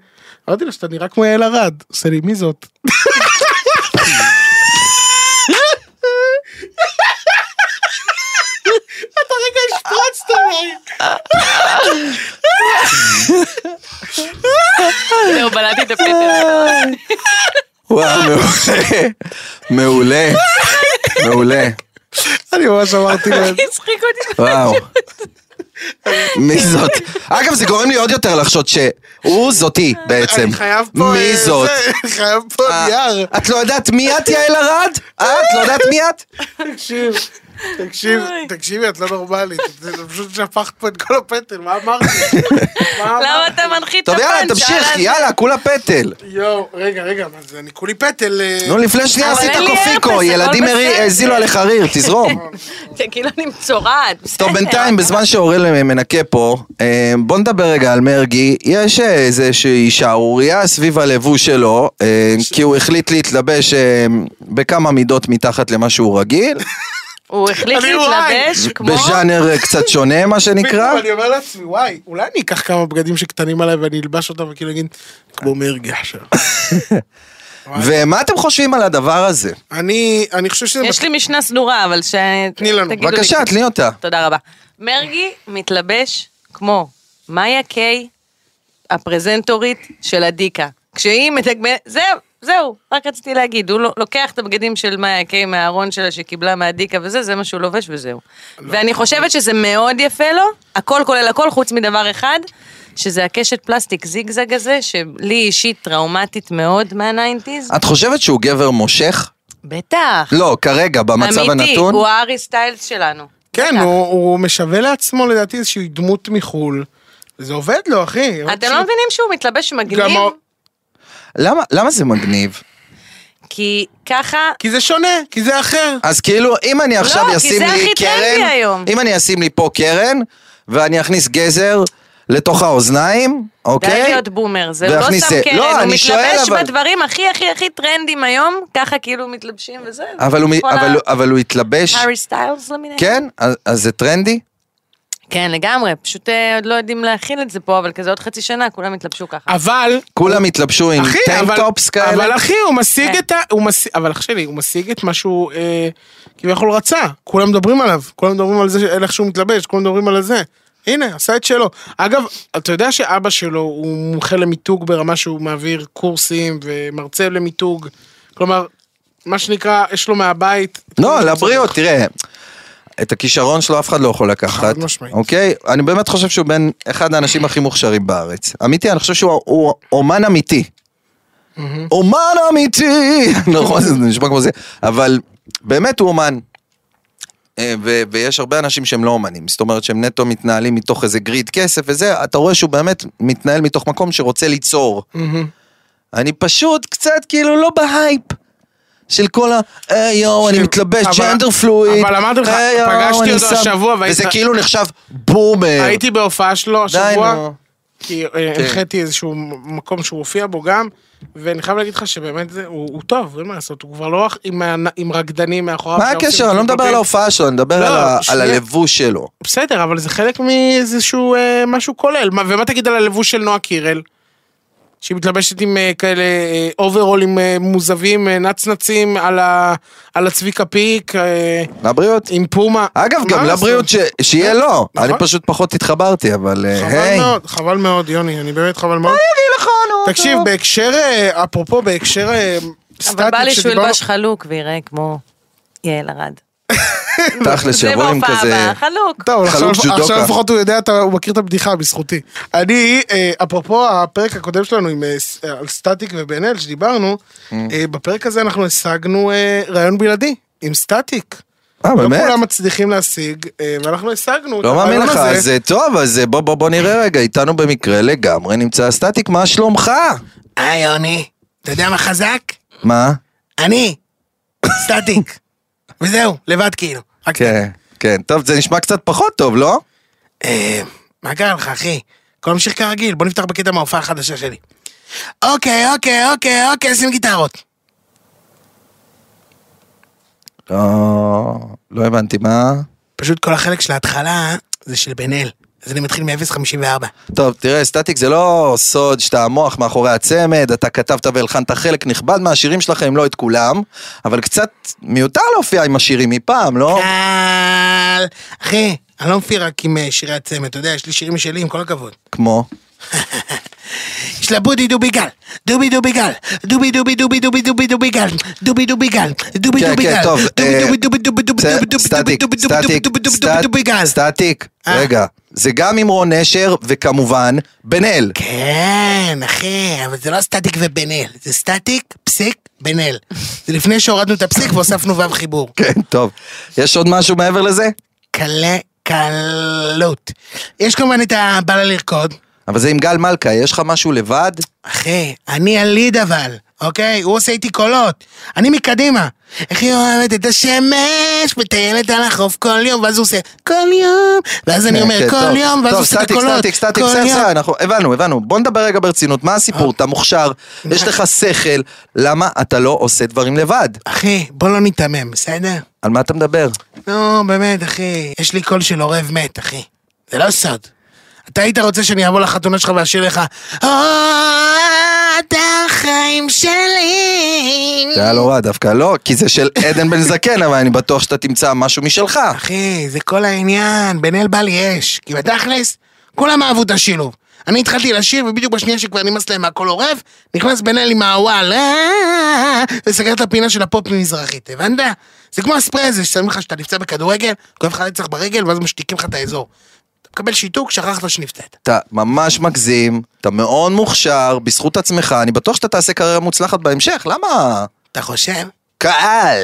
S3: אמרתי לו שאתה נראה כמו יעל ארד. עושה לי, מי זאת? אתה רגע השפרצת עליי.
S4: זהו, לא, בלעתי את הפטר.
S2: וואו, מעולה. מעולה. מעולה.
S3: אני ממש אמרתי לו, את זה.
S4: הצחיק אותי.
S2: וואו. מי זאת? אגב, זה גורם לי עוד יותר לחשוד שהוא זאתי בעצם.
S3: אני חייב פה...
S2: מי
S3: אה,
S2: זאת?
S3: זה, אני חייב פה
S4: אה,
S3: נייר.
S2: את לא יודעת מי את, יעל ארד? את לא יודעת מי את?
S3: תקשיב, תקשיב,
S4: אוי.
S3: תקשיבי, את לא נורמלית. זה זה פשוט שפכת פה את כל הפטל, מה אמרתי? מה
S4: למה
S3: אמרתי?
S4: אתה מנחית
S2: טוב,
S4: את הפאנץ'?
S2: יאללה, תמשיך,
S4: אהלן.
S2: יאללה, כולה פטל.
S3: יואו, רגע, רגע, מה זה, אני כולי פטל. אה,
S2: נו, לפני שנייה
S4: אבל
S2: עשית
S4: אין לא, לי אפס,
S2: קופיקו,
S4: הכל
S2: ילדים הרי-
S4: בסדר.
S2: הזילו עליך ריר, תזרום.
S4: זה כאילו אני מצורעת. בסדר.
S2: טוב, בינתיים, בזמן שאורל מנקה פה, אה, בוא נדבר רגע על מרגי. יש איזושהי שערורייה סביב הלבוש שלו, אה, כי הוא החליט להתלבש אה, בכמה מידות מתחת למה שהוא רגיל,
S4: הוא החליט
S3: אני וואי.
S4: להתלבש כמו...
S2: בז'אנר אה, קצת שונה, מה שנקרא.
S3: פתאום אני אומר לעצמי, וואי, אולי אני אקח כמה בגדים שקטנים עליי ואני אלבש אותם וכאילו אגיד, כמו מרגי עכשיו.
S2: ומה אתם חושבים על הדבר הזה?
S3: אני, אני חושב שזה...
S4: יש לי משנה סדורה, אבל ש...
S3: תני לנו.
S4: תגידו לי.
S2: בבקשה, תני אותה.
S4: תודה רבה. מרגי מתלבש כמו מאיה קיי, הפרזנטורית של הדיקה. כשהיא מתגמלת, זהו, זהו, רק רציתי להגיד, הוא ל- לוקח את הבגדים של מאיה קיי מהארון שלה שקיבלה מהדיקה וזה, זה מה שהוא לובש וזהו. ואני חושבת שזה מאוד יפה לו, הכל כולל הכל חוץ מדבר אחד, שזה הקשת פלסטיק זיגזג הזה, שלי אישית טראומטית מאוד מהניינטיז.
S2: את חושבת שהוא גבר מושך?
S4: בטח.
S2: לא, כרגע, במצב
S4: אמיתי,
S2: הנתון.
S4: הוא הארי סטיילס שלנו.
S3: כן,
S4: בטח.
S3: הוא, הוא משווה לעצמו לדעתי איזושהי דמות מחול. זה עובד לו, אחי.
S4: אתם לא מבינים שהוא מתלבש מגניב?
S3: ה-
S2: למה- למה זה מגניב?
S4: כי ככה...
S3: כי זה שונה, כי זה אחר.
S2: אז כאילו, אם אני עכשיו
S4: לא, כי
S2: אשים
S4: זה
S2: לי
S4: הכי טרנדי
S2: קרן,
S4: היום.
S2: אם אני אשים לי פה קרן, ואני אכניס גזר לתוך האוזניים,
S4: די
S2: אוקיי?
S4: להיות בומר, זה הוא לא
S2: להכניס
S4: שם
S2: זה.
S4: קרן,
S2: לא,
S4: הוא
S2: אני שואל,
S4: מתלבש
S2: אבל-
S4: בדברים הכי הכי הכי טרנדים היום, ככה כאילו מתלבשים וזה.
S2: אבל הוא מ-
S4: כל
S2: אבל הוא- אבל הוא התלבש,
S4: הארי סטיילס למיניהם.
S2: כן? אז- אז זה טרנדי?
S4: כן, לגמרי, פשוט אה, עוד לא יודעים להכיל את זה פה, אבל כזה עוד חצי שנה כולם יתלבשו ככה.
S3: אבל...
S2: כולם התלבשו עם
S3: אחי, אבל-
S2: טיינטופס כאלה?
S3: אבל אחי, הוא משיג
S4: כן.
S3: את ה... הוא משיג... אבל אח שלי, הוא משיג את מה שהוא אה, כביכול רצה. כולם מדברים עליו. כולם מדברים על זה, ש- על איך שהוא מתלבש, כולם מדברים על זה. הנה, עשה את שלו. אגב, אתה יודע שאבא שלו הוא מומחה למיתוג ברמה שהוא מעביר קורסים ומרצה למיתוג. כלומר, מה שנקרא, יש לו מהבית...
S2: לא, לבריות, תראה. את הכישרון שלו אף אחד לא יכול לקחת,
S3: חד משמעית.
S2: אוקיי? אני באמת חושב שהוא בין אחד האנשים הכי מוכשרים בארץ. אמיתי, אני חושב שהוא הוא אומן אמיתי. אומן לא אמיתי! נכון, זה נשמע כמו זה. אבל באמת הוא אומן. אה, ו- ויש הרבה אנשים שהם לא אומנים, זאת אומרת שהם נטו מתנהלים מתוך איזה גריד כסף וזה, אתה רואה שהוא באמת מתנהל מתוך מקום שרוצה ליצור. אני פשוט קצת כאילו לא בהייפ. של כל ה... היי יואו, אני
S3: של-
S2: מתלבש
S3: אבל-
S2: ג'נדר פלואיד.
S3: אבל אמרתי לך,
S2: "היי, יואו,
S3: פגשתי
S2: אני
S3: אותו
S2: שם-"
S3: השבוע והיית-
S2: וזה כאילו נחשב בומר.
S3: הייתי בהופעה שלו
S2: כן. די,
S3: השבוע,
S2: נו.
S3: כי אה,
S2: כן.
S3: הנחיתי איזשהו מקום שהוא הופיע בו גם, ואני חייב להגיד לך שבאמת זה- הוא הוא טוב, אין מה לעשות, הוא כבר לא אח- עם ה- עם רקדנים מאחוריו.
S2: מה
S3: שעושים
S2: הקשר? אני לא מדבר
S3: פופים.
S2: על ההופעה שלו, אני מדבר
S3: אוקיי, לא,
S2: על ה- על
S3: שנייה.
S2: הלבוש שלו.
S3: בסדר, אבל זה חלק מאיזשהו אה, משהו כולל. מה, ומה תגיד על הלבוש של נועה קירל? שהיא מתלבשת עם אה, כאלה אה, אוברולים אה, מוזבים, אה, נצנצים, על, ה, על הצביקה פיק, אה,
S2: לבריאות.
S3: עם פומה.
S2: אגב,
S3: מה
S2: גם
S3: לעשות?
S2: לבריאות ש- שיהיה לו.
S3: נכון.
S2: אני פשוט פחות התחברתי, אבל אה,
S3: חבל
S2: היי.
S3: מאוד, חבל מאוד, יוני, אני באמת חבל מאוד. תקשיב, בהקשר, אה, אפרופו, בהקשר אה, סטטי,
S4: אבל בא לי שהוא
S3: שדיברנו-
S4: ילבש חלוק ויראה כמו יעל ארד.
S2: תכל'ס,
S4: זה
S2: שיבוא עם
S4: בהופעה
S2: כזה...
S4: הבאה, חלוק.
S3: טוב,
S2: חלוק
S3: עכשיו,
S2: ג'ודוקה.
S3: עכשיו לפחות הוא יודע, אתה, הוא מכיר את הבדיחה בזכותי. אני, אה, אפרופו הפרק הקודם שלנו עם, אה, ס- אה, על סטטיק ובן אל שדיברנו,
S2: Mm.
S3: אה, בפרק הזה אנחנו השגנו אה, רעיון בלעדי עם סטטיק.
S2: אה,
S3: לא
S2: באמת?
S3: כולם מצליחים להשיג, אה, ואנחנו השגנו את
S2: לא מאמין
S3: הרעיון
S2: לך,
S3: הזה.
S2: אז אה, טוב, אז אה, בוא בוא בוא נראה רגע, איתנו במקרה לגמרי נמצא הסטטיק, מה שלומך?
S3: היי יוני, אתה יודע מה חזק?
S2: מה?
S3: אני, סטטיק. וזהו, לבד כאילו. רק-
S2: כן, כן. טוב, זה נשמע קצת פחות טוב, לא?
S3: אה, מה קרה לך, אחי? הכל ממשיך כרגיל, בוא נפתח בקטע מההופעה החדשה שלי. אוקיי, אוקיי, אוקיי, אוקיי, שים גיטרות.
S2: לא, לא הבנתי מה.
S3: פשוט כל החלק של ההתחלה זה של בן אל. אז אני מתחיל מ-0.54.
S2: טוב, תראה, סטטיק זה לא סוד שאתה המוח מאחורי הצמד, אתה כתבת והלחנת חלק נכבד מהשירים שלך, אם לא את כולם, אבל קצת מיותר להופיע עם השירים מפעם, לא?
S3: כן. קל. אחי, אני לא מופיע רק עם אה, שירי הצמד, אתה יודע, יש לי שירים משלי, עם כל הכבוד.
S2: כמו.
S3: יש לה בודי דובי גל, דובי דובי גל, דובי דובי דובי דובי דובי דובי גל, דובי דובי גל, דובי
S2: כן,
S3: דובי
S2: כן,
S3: גל,
S2: טוב,
S3: דובי
S2: אה,
S3: דובי דובי דובי דובי
S2: זה-
S3: דובי דובי דובי
S2: סטטיק,
S3: דובי דובי
S2: סטטיק,
S3: דובי דובי דובי
S2: סטט-
S3: דובי גל.
S2: סטטיק,
S3: אה.
S2: רגע, זה גם עם רון נשר, וכמובן, בן אל.
S3: כן, אחי, אבל זה לא סטטיק ובן אל, זה סטטיק, פסיק, בן אל. זה לפני שהורדנו את הפסיק והוספנו ו' חיבור.
S2: כן, טוב. יש עוד משהו מעבר לזה?
S3: קלה קלות. יש כמובן את הבא לה לרקוד.
S2: אבל זה עם גל מלכה, יש לך משהו לבד?
S3: אחי, אני הליד אבל, אוקיי? הוא עושה איתי קולות. אני מקדימה. איך היא אוהבת את השמש, מטיילת על החוף כל יום, ואז הוא עושה כל יום, ואז אני אומר
S2: כן,
S3: כל
S2: טוב.
S3: יום, ואז הוא
S2: טוב,
S3: עושה את
S2: סטטיק,
S3: הקולות.
S2: סטטיק, סטטיק,
S3: כל
S2: בסדר,
S3: יום.
S2: בסדר, אנחנו- הבנו, הבנו. בוא נדבר רגע ברצינות, מה הסיפור? אתה מוכשר, יש לך שכל, למה אתה לא עושה דברים לבד?
S3: אחי, בוא לא ניתמם, בסדר?
S2: על מה אתה מדבר?
S3: נו, באמת, אחי. יש לי קול של עורב מת, אחי. זה לא סוד. אתה היית רוצה שאני אבוא לחתונה שלך ואשאיר לך, "או, אתה החיים שלי.
S2: זה היה לא רע דווקא, לא, כי זה של עדן בן זקן, אבל אני בטוח שאתה תמצא משהו משלך.
S3: אחי, זה כל העניין, בן אל בא לי אש. כי בתכלס, כולם אהבו את השילוב. אני התחלתי לשיר, ובדיוק בשנייה שכבר נמאס להם מהכל עורב, נכנס בן אל עם הוואל, "אה", וסגר את הפינה של הפופ ממזרחית, הבנת? זה כמו הספרי הזה ששמים לך שאתה נפצע בכדורגל, כואב לך רצח ברגל, ואז משתיקים לך את האזור. אתה מקבל שיתוק, שכחת שנפצעת.
S2: אתה ממש מגזים, אתה מאוד מוכשר, בזכות עצמך, אני בטוח שאתה תעשה קריירה מוצלחת בהמשך, למה?
S3: אתה חושב?
S2: קהל!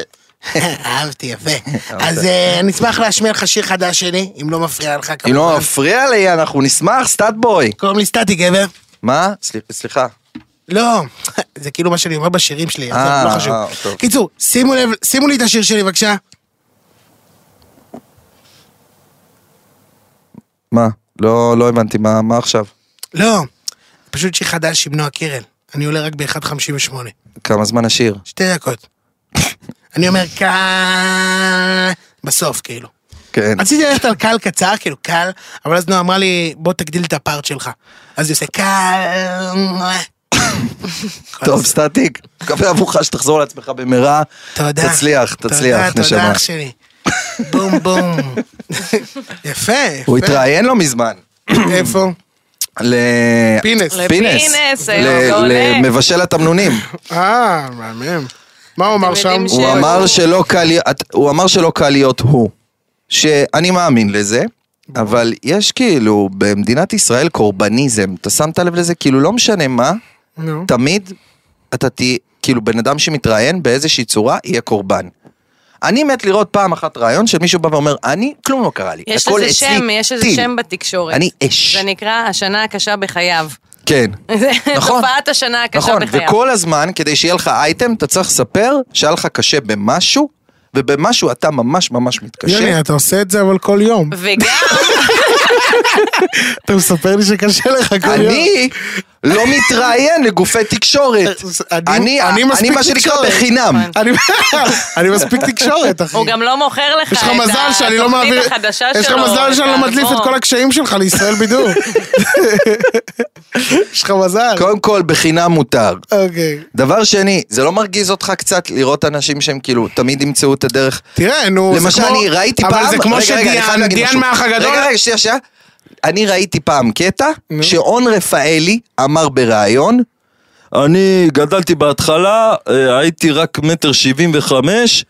S3: אהבתי, יפה. אז אה, אני אשמח להשמיע לך שיר חדש שלי, אם לא מפריע לך
S2: אם לא
S3: כמובן.
S2: מפריע לי, אנחנו נשמח, סטאט בוי.
S3: קוראים לי סטטי גבר.
S2: מה? סליח- סליחה.
S3: לא, זה כאילו מה שאני אומר בשירים שלי,
S2: אה,
S3: אז לא חשוב.
S2: אה, טוב.
S3: קיצור, שימו לב, שימו לי את השיר שלי בבקשה.
S2: מה? לא, לא הבנתי, מה, מה עכשיו?
S3: לא, פשוט שיר חדש עם נועה קירל. אני עולה רק ב-1.58.
S2: כמה זמן השיר?
S3: שתי דקות. אני אומר קל... בסוף, כאילו.
S2: כן.
S3: רציתי ללכת על קל קצר, כאילו קל, אבל אז נועה אמרה לי, בוא תגדיל את הפארט שלך. אז היא עושה קל... כל
S2: טוב,
S3: הזמן.
S2: סטטיק, מקווה עבורך שתחזור לעצמך במהרה.
S3: תודה.
S2: תצליח, תצליח,
S3: תודה, תודה
S2: נשמה.
S3: אח שלי. בום בום. יפה, יפה.
S2: הוא התראיין לא מזמן.
S3: איפה?
S2: ל...
S3: פינס.
S4: לפינס,
S2: ל-
S4: היום, מעולה.
S2: למבשל התמנונים.
S3: אה, מהמם. מה הוא אמר
S4: אתם
S3: שם?
S4: יודעים ש-
S2: הוא
S4: שהוא-
S2: אמר שלא קל, את- הוא אמר שלא קל להיות הוא. שאני מאמין לזה, אבל יש כאילו במדינת ישראל קורבניזם. אתה שמת לב לזה? כאילו לא משנה מה,
S3: נו.
S2: תמיד אתה תהיה, כאילו בן אדם שמתראיין באיזושהי צורה יהיה קורבן. אני מת לראות פעם אחת רעיון של מישהו בא ואומר, אני, כלום לא קרה לי.
S4: יש
S2: הכל
S4: לזה
S2: אצלי
S4: שם, יש לזה
S2: טיל."
S4: שם בתקשורת.
S2: אני אש.
S4: זה נקרא השנה הקשה בחייו.
S2: כן.
S4: זה
S2: נכון.
S4: תופעת השנה הקשה
S2: נכון,
S4: בחייו.
S2: וכל הזמן, כדי שיהיה לך אייטם, אתה צריך לספר שהיה לך קשה במשהו, ובמשהו אתה ממש ממש מתקשה.
S3: יוני, אתה עושה את זה אבל כל יום.
S4: וגם,
S3: אתה מספר לי שקשה לך כל יום.
S2: אני לא מתראיין לגופי תקשורת. אני, אני
S3: מספיק
S2: מה שנקרא
S3: תקשורת.
S2: בחינם.
S4: נכון.
S3: אני- אני מספיק תקשורת, אחי.
S4: הוא גם לא מוכר לך את
S3: יש לך מזל שאני לא מעביר...
S4: התוכנית החדשה שלו.
S3: יש לך מזל שאני לא
S4: את נכון.
S3: מדליף את
S4: האלבום.
S3: כל הקשיים שלך לישראל בידור. יש לך מזל.
S2: קודם כל, בחינם מותר.
S3: אוקיי.
S2: דבר שני, זה לא מרגיז אותך קצת לראות אנשים שהם כאילו תמיד ימצאו את הדרך?
S3: תראה, נו, זה
S2: למשל,
S3: כמו-
S2: אני ראיתי פעם...
S3: אבל זה כמו
S2: רגע, רגע, אני חייב
S3: שדיאן,
S2: להגיד
S3: דיאן
S2: משהו.
S3: מהאח הגדול...
S2: רגע, רגע, שנייה, שנייה. אני ראיתי פעם קטע שאון רפאלי אמר בריאיון, אני גדלתי בהתחלה, אה, הייתי רק מטר שבעים וחמש,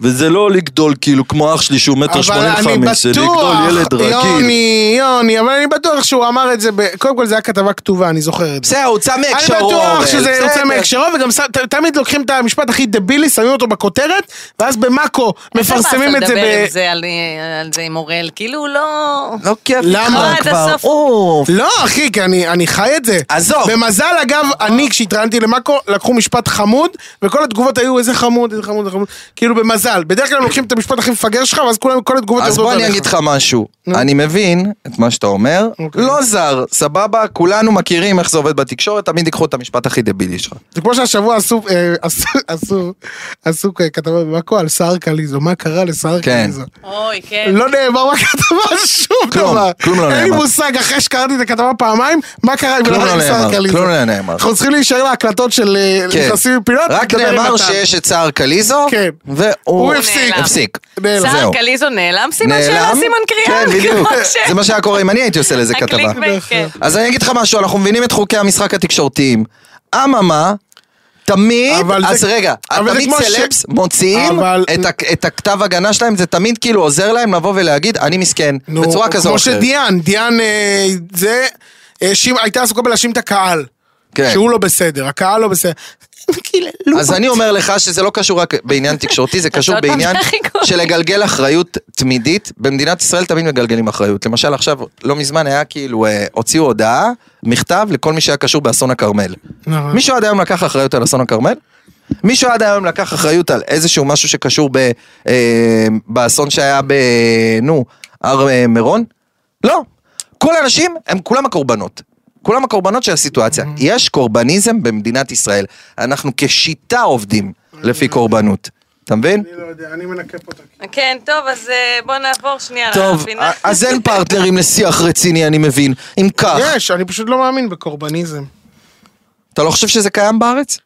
S2: וזה לא לגדול כאילו כמו אח שלי שהוא מטר
S3: אבל
S2: שמונים
S3: אני
S2: וחמש, זה לגדול ילד
S3: בטוח,
S2: רגיל.
S3: יוני, יוני, אבל אני בטוח שהוא אמר את זה, ב- קודם כל זה היה כתבה כתובה, אני זוכר את זה.
S2: בסדר, הוא צא מהקשרו.
S3: אני
S2: אורן,
S3: בטוח שזה יוצא
S2: בסדר.
S3: מהקשרו, וגם ס- ת- תמיד לוקחים את המשפט הכי דבילי, שמים אותו בכותרת, ואז במאקו מפרסמים את זה
S4: אתה מדבר עם
S3: ב...
S4: זה על על זה עם אוראל, כאילו הוא לא...
S2: לא כיף
S3: למה?
S2: לך
S4: עד
S2: כבר,
S4: הסוף.
S2: אוף.
S3: לא, אחי, כי אני, אני חי את זה.
S2: עזוב.
S3: במזל, אגב, אני, כשהתראיינתי למאקו, לקחו משפט חמוד, וכל התגובות היו איזה חמוד, איזה חמוד, איזה חמוד. כאילו, במזל. בדרך כלל לוקחים את המשפט הכי מפגר שלך, ואז כולם, כל התגובות
S2: אז
S3: יורדות
S2: בוא אני
S3: עליך.
S2: אגיד לך משהו. אני מבין את מה שאתה אומר,
S3: אוקיי.
S2: לא זר, סבבה, כולנו מכירים איך זה עובד בתקשורת, תמיד ייקחו את המשפט הכי דבילי שלך.
S3: זה כמו שהשבוע עשו, אה, עשו, עשו, עשו כ- כתבה במאקו על סער קליזו, מה קרה לסער
S2: כן.
S3: קליזו.
S4: אוי, כן.
S3: לא נאמר בכתבה שום
S2: כלום,
S3: דבר.
S2: כלום לא
S3: אין לי
S2: נאמר.
S3: מוסג, אחרי שקראתי את הכתבה פעמיים, מה קרה עם
S2: כלום
S3: ולמה
S2: לא
S3: עם סער
S2: נאמר,
S3: קליזו.
S2: כלום לא נאמר.
S3: אנחנו צריכים להישאר להקלטות של אה,
S2: כן.
S3: נכנסים עם פינות.
S2: רק
S3: נדבר עם
S2: נאמר
S3: מתן.
S2: שיש את סער קליזו,
S3: כן.
S2: והוא
S3: הוא הפסיק.
S4: נעלם.
S2: הפסיק.
S3: נעלם.
S4: סער
S2: זהו.
S4: קליזו נעלם סימן שאלה, סימן קריאה.
S2: כן, בדיוק. זה מה שהיה קורה אם אני הייתי עושה לזה כתבה.
S4: הקליקבייט, כן.
S2: אז אני אגיד לך משהו, אנחנו מבינים את חוקי המשחק התקשורתיים. אממה, תמיד,
S3: אבל זה-
S2: אז רגע,
S3: אבל זה
S2: תמיד
S3: כמו ש-
S2: סלבס מוציאים
S3: אבל-
S2: את ה- את הכתב הגנה שלהם, זה תמיד כאילו עוזר להם לבוא ולהגיד, אני מסכן,
S3: נו,
S2: בצורה כזו או
S3: כמו
S2: אחרת.
S3: שדיאן, דיאן אה, זה, האשים- הייתה עסוקה בלהאשים את הקהל.
S2: כן.
S3: שהוא לא בסדר, הקהל לא בסדר. קיללו.
S2: אז אני אומר לך שזה לא קשור רק בעניין תקשורתי, זה קשור
S4: עוד פעם
S2: בעניין
S4: הכי גרוע.
S2: של לגלגל אחריות תמידית. במדינת ישראל תמיד מגלגלים אחריות. למשל עכשיו, לא מזמן היה כאילו, אה, הוציאו הודעה, מכתב לכל מי שהיה קשור באסון הכרמל.
S3: נכון.
S2: מישהו עד היום לקח אחריות על אסון הכרמל? מישהו עד היום לקח אחריות על איזשהו משהו שקשור ב, אה, באסון שהיה ב... נו, הר אה, מירון? לא. כל האנשים הם כולם הקורבנות. כולם הקורבנות של הסיטואציה.
S4: Mm-hmm.
S2: יש קורבניזם במדינת ישראל. אנחנו כשיטה עובדים לפי קורבנות. אתה מבין?
S3: אני לא יודע, אני מנקה פה את הכיוון.
S4: כן, טוב, אז אה, בוא נעבור שנייה
S2: טוב,
S4: לפינה.
S2: אז אין פרטנרים לשיח רציני, אני מבין. אם כך,
S4: כן.
S3: יש, אני פשוט לא מאמין בקורבניזם.
S2: אתה לא חושב שזה קיים בארץ?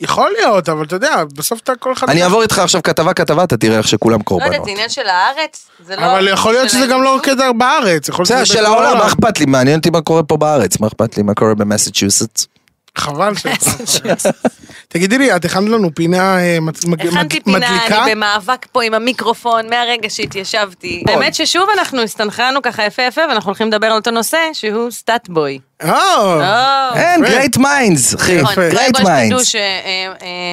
S3: יכול להיות, אבל אתה יודע, בסוף אתה כל אחד...
S2: אני אמ- אעבור איתך עכשיו כתבה-כתבה, אתה תראה איך שכולם
S4: לא יודעת,
S2: קורבנות.
S4: זה עניין של הארץ? זה לא...
S3: אבל יכול להיות
S4: של
S3: שזה גם לא
S4: האנושות?
S3: כדר בארץ. יכול להיות
S2: בסדר,
S3: שזה
S2: של
S3: בכל
S2: העולם, מה אכפת לי? מעניין אותי מה קורה פה בארץ, מה אכפת לי? מה קורה במסצ'וסטס?
S3: חבל ש... תגידי לי, את הכנת לנו פינה אה, מצ- מג-
S4: הכנתי
S3: מד-
S4: פינה,
S3: מדליקה?
S4: אני במאבק פה עם המיקרופון מהרגע שהתיישבתי. באמת ששוב אנחנו הסתנכרנו ככה יפה יפה, ואנחנו הולכים לדבר על אותו נושא, שהוא סטאטבוי.
S3: או,
S2: אין,
S3: יפה.
S2: great minds, אחי,
S4: אה, נכון,
S2: אה, great
S4: קודם כל שתדעו
S2: minds.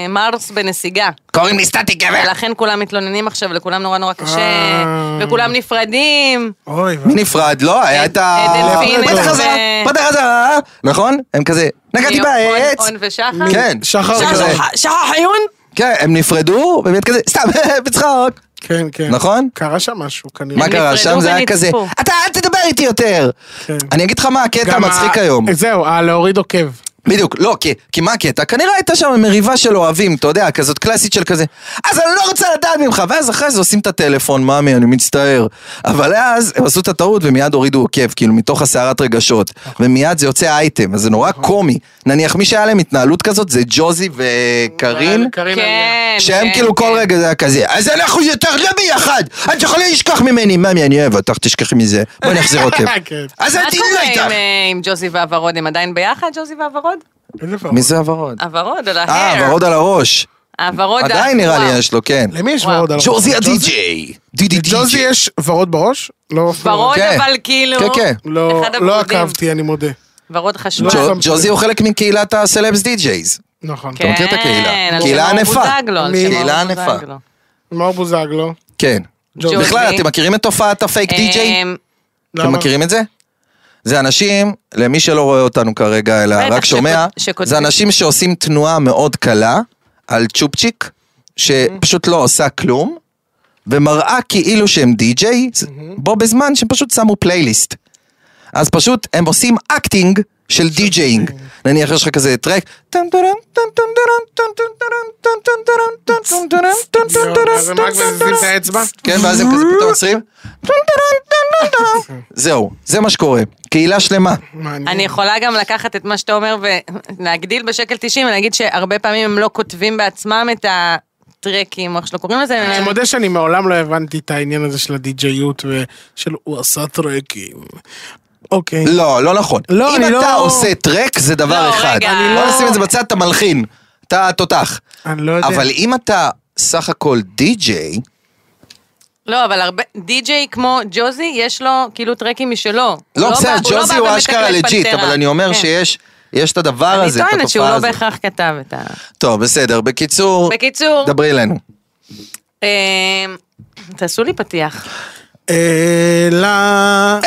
S4: שמרס אה, בנסיגה,
S2: קוראים לי סטטי גבר.
S4: ולכן כולם מתלוננים עכשיו, לכולם נורא נורא קשה,
S3: אה.
S4: וכולם נפרדים.
S3: אוי,
S2: מי נפרד? לא, היה את ה...
S4: דלפין
S2: פתח
S4: ו-
S2: חזרה, פתח חזרה, נכון? הם כזה, נגעתי
S4: און-
S2: בעץ.
S4: און ושחר.
S2: כן,
S3: שחר
S2: זה כזה,
S3: כזה.
S4: שחר- שחר חיון?
S2: כן, הם נפרדו, ובאמת כזה, סתם, בצחוק.
S3: כן, כן.
S2: נכון?
S3: קרה שם משהו, כנראה.
S2: מה קרה?
S4: נפרדו
S2: שם זה היה
S4: ונצפו.
S2: כזה, אתה אל תדבר איתי יותר.
S3: כן.
S2: אני אגיד לך מה הקטע
S3: גם ה-
S2: המצחיק היום.
S3: זהו, אה, להוריד עוקב.
S2: בדיוק, לא, כי, כי מה הקטע? כנראה הייתה שם מריבה של אוהבים, אתה יודע, כזאת קלאסית של כזה, אז אני לא רוצה לדעת ממך, ואז אחרי זה עושים את הטלפון, מאמי, אני מצטער. אבל אז הם עשו את הטעות ומיד הורידו עוקב, כאילו, מתוך הסערת רגשות. ומיד זה יוצא אייטם, אז זה נורא קומי. נניח מי שהיה להם התנהלות כזאת זה ג'וזי וקארין.
S3: קרין עלייה.
S4: כן.
S2: שהם
S4: כן,
S2: כאילו כל
S4: כן.
S2: רגע זה היה כזה, אז אנחנו יותר לא ביחד, את יכולה לשכוח ממני, מאמי אני אוהב אותך, תשכחי מזה, בוא נחזיר עוקב.
S3: כן.
S2: אז אל
S4: מה
S2: תהיי
S4: קורה
S2: איתך.
S4: עם, אה, עם ג'וזי והוורוד? הם עדיין ביחד, ג'וזי והוורוד?
S3: איזה פרעה.
S2: מי זה הוורוד?
S4: הוורוד על ההר.
S2: אה, הוורוד על הראש.
S4: הוורוד ה-
S2: עדיין נראה
S4: וואו.
S2: לי יש לו, כן.
S3: למי יש
S4: וואו.
S3: ורוד על הראש?
S2: ג'וזי הדי-ג'יי. די-די
S3: ג'וזי
S2: די-ג'יי.
S3: יש ורוד בראש? לא,
S4: ורוד
S2: כן.
S4: אבל כאילו...
S2: כן, כן.
S3: לא,
S4: אחד
S3: לא
S4: הוורודים.
S3: עקבתי, אני מודה.
S4: ורוד חשוב.
S3: ג'ו-
S2: ג'ו- ג'וזי הוא חלק מקהילת הסלבס די-ג'ייז.
S3: נכון.
S2: מכיר את הקהילה?
S4: כן, על
S2: קהילה
S4: שם
S2: ענפה.
S4: אור בוזגלו, על שם
S2: קהילה
S4: אור
S2: ענפה.
S4: בוזגלו.
S3: מאור בוזגלו.
S2: כן.
S4: ג'ובי.
S2: בכלל, אתם מכירים את תופעת הפייק די-ג'יי?
S4: אמ,
S3: למה?
S2: אתם מכירים את זה? זה אנשים, למי שלא רואה אותנו כרגע, אלא
S4: בטח,
S2: רק שומע,
S4: שכות- שכותבים.
S2: זה אנשים שעושים תנועה מאוד קלה על צ'ופצ'יק, שפשוט לא עושה כלום, ומראה כאילו שהם די-ג'יי, בו בזמן שהם פשוט שמו פלייליסט. אז פשוט הם עושים אקטינג של די-ג'יינג. נניח יש לך כזה טרק, טם טם טם טם טם טם טם טם טם טם טם טם טם טם טם טם
S3: אז הם רק מזיזים את האצבע?
S2: כן, ואז הם כזה פתאום עוצרים. זהו, זה מה שקורה. קהילה שלמה.
S3: מעניין.
S4: אני יכולה גם לקחת את מה שאתה אומר ולהגדיל בשקל 90 ולהגיד שהרבה פעמים הם לא כותבים בעצמם את הטרקים, או איך שלא קוראים לזה.
S3: אני
S4: הם-
S3: מודה שאני מעולם לא הבנתי את העניין הזה של הדי-ג'יות ושל הוא עשה טרקים. אוקיי.
S2: לא, לא נכון.
S3: לא, אני
S2: אם אתה
S3: לא-
S2: עושה טרק, זה דבר
S4: לא,
S2: אחד.
S4: רגע. אני
S2: בוא
S4: לא-
S2: נשים את זה בצד, אתה מלחין. אתה תותח.
S3: אני לא יודע.
S2: אבל אם אתה סך הכל די-ג'יי,
S4: לא, אבל הרבה, די-ג'יי כמו ג'וזי, יש לו כאילו טרקים משלו.
S2: לא,
S4: בא-
S2: בסדר,
S4: בא
S2: ג'וזי הוא
S4: ומתקלט
S2: אשכרה לג'יט,
S4: פנטרה.
S2: אבל אני אומר
S4: כן.
S2: שיש... יש את הדבר
S4: אני
S2: הזה, את
S4: טוענת שהוא
S2: התופעה
S4: לא
S2: הזאת.
S4: בהכרח כתב את ה...
S2: טוב, בסדר, בקיצור,
S4: בקיצור,
S2: דברי אלינו.
S4: אמ, תעשו לי פתיח.
S3: אלה...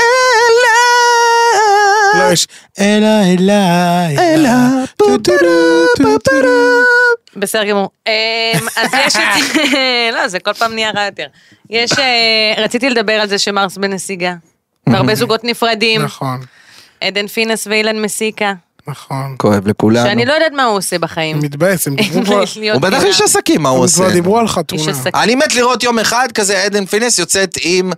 S3: לא, יש אלה, אלה, אלה.
S4: בסדר גמור. אמ, אז יש את... לא, זה כל פעם נהיה רע יותר. יש... אה, רציתי לדבר על זה שמרס בנסיגה. והרבה זוגות נפרדים.
S3: נכון,
S4: עדן פינס ואילן מסיקה.
S3: נכון.
S2: כואב לכולנו.
S4: שאני לא יודעת מה הוא עושה בחיים.
S3: אני מתבאס, הם דיברו כבר-
S4: להיות
S2: הוא בטח
S4: כאילו-
S2: איש עסקים, מה הוא
S3: הם
S2: עושה?
S3: כבר דיברו על
S4: איש
S3: חתונה.
S4: עסק.
S2: אני מת לראות יום אחד כזה עדן פינס יוצאת עם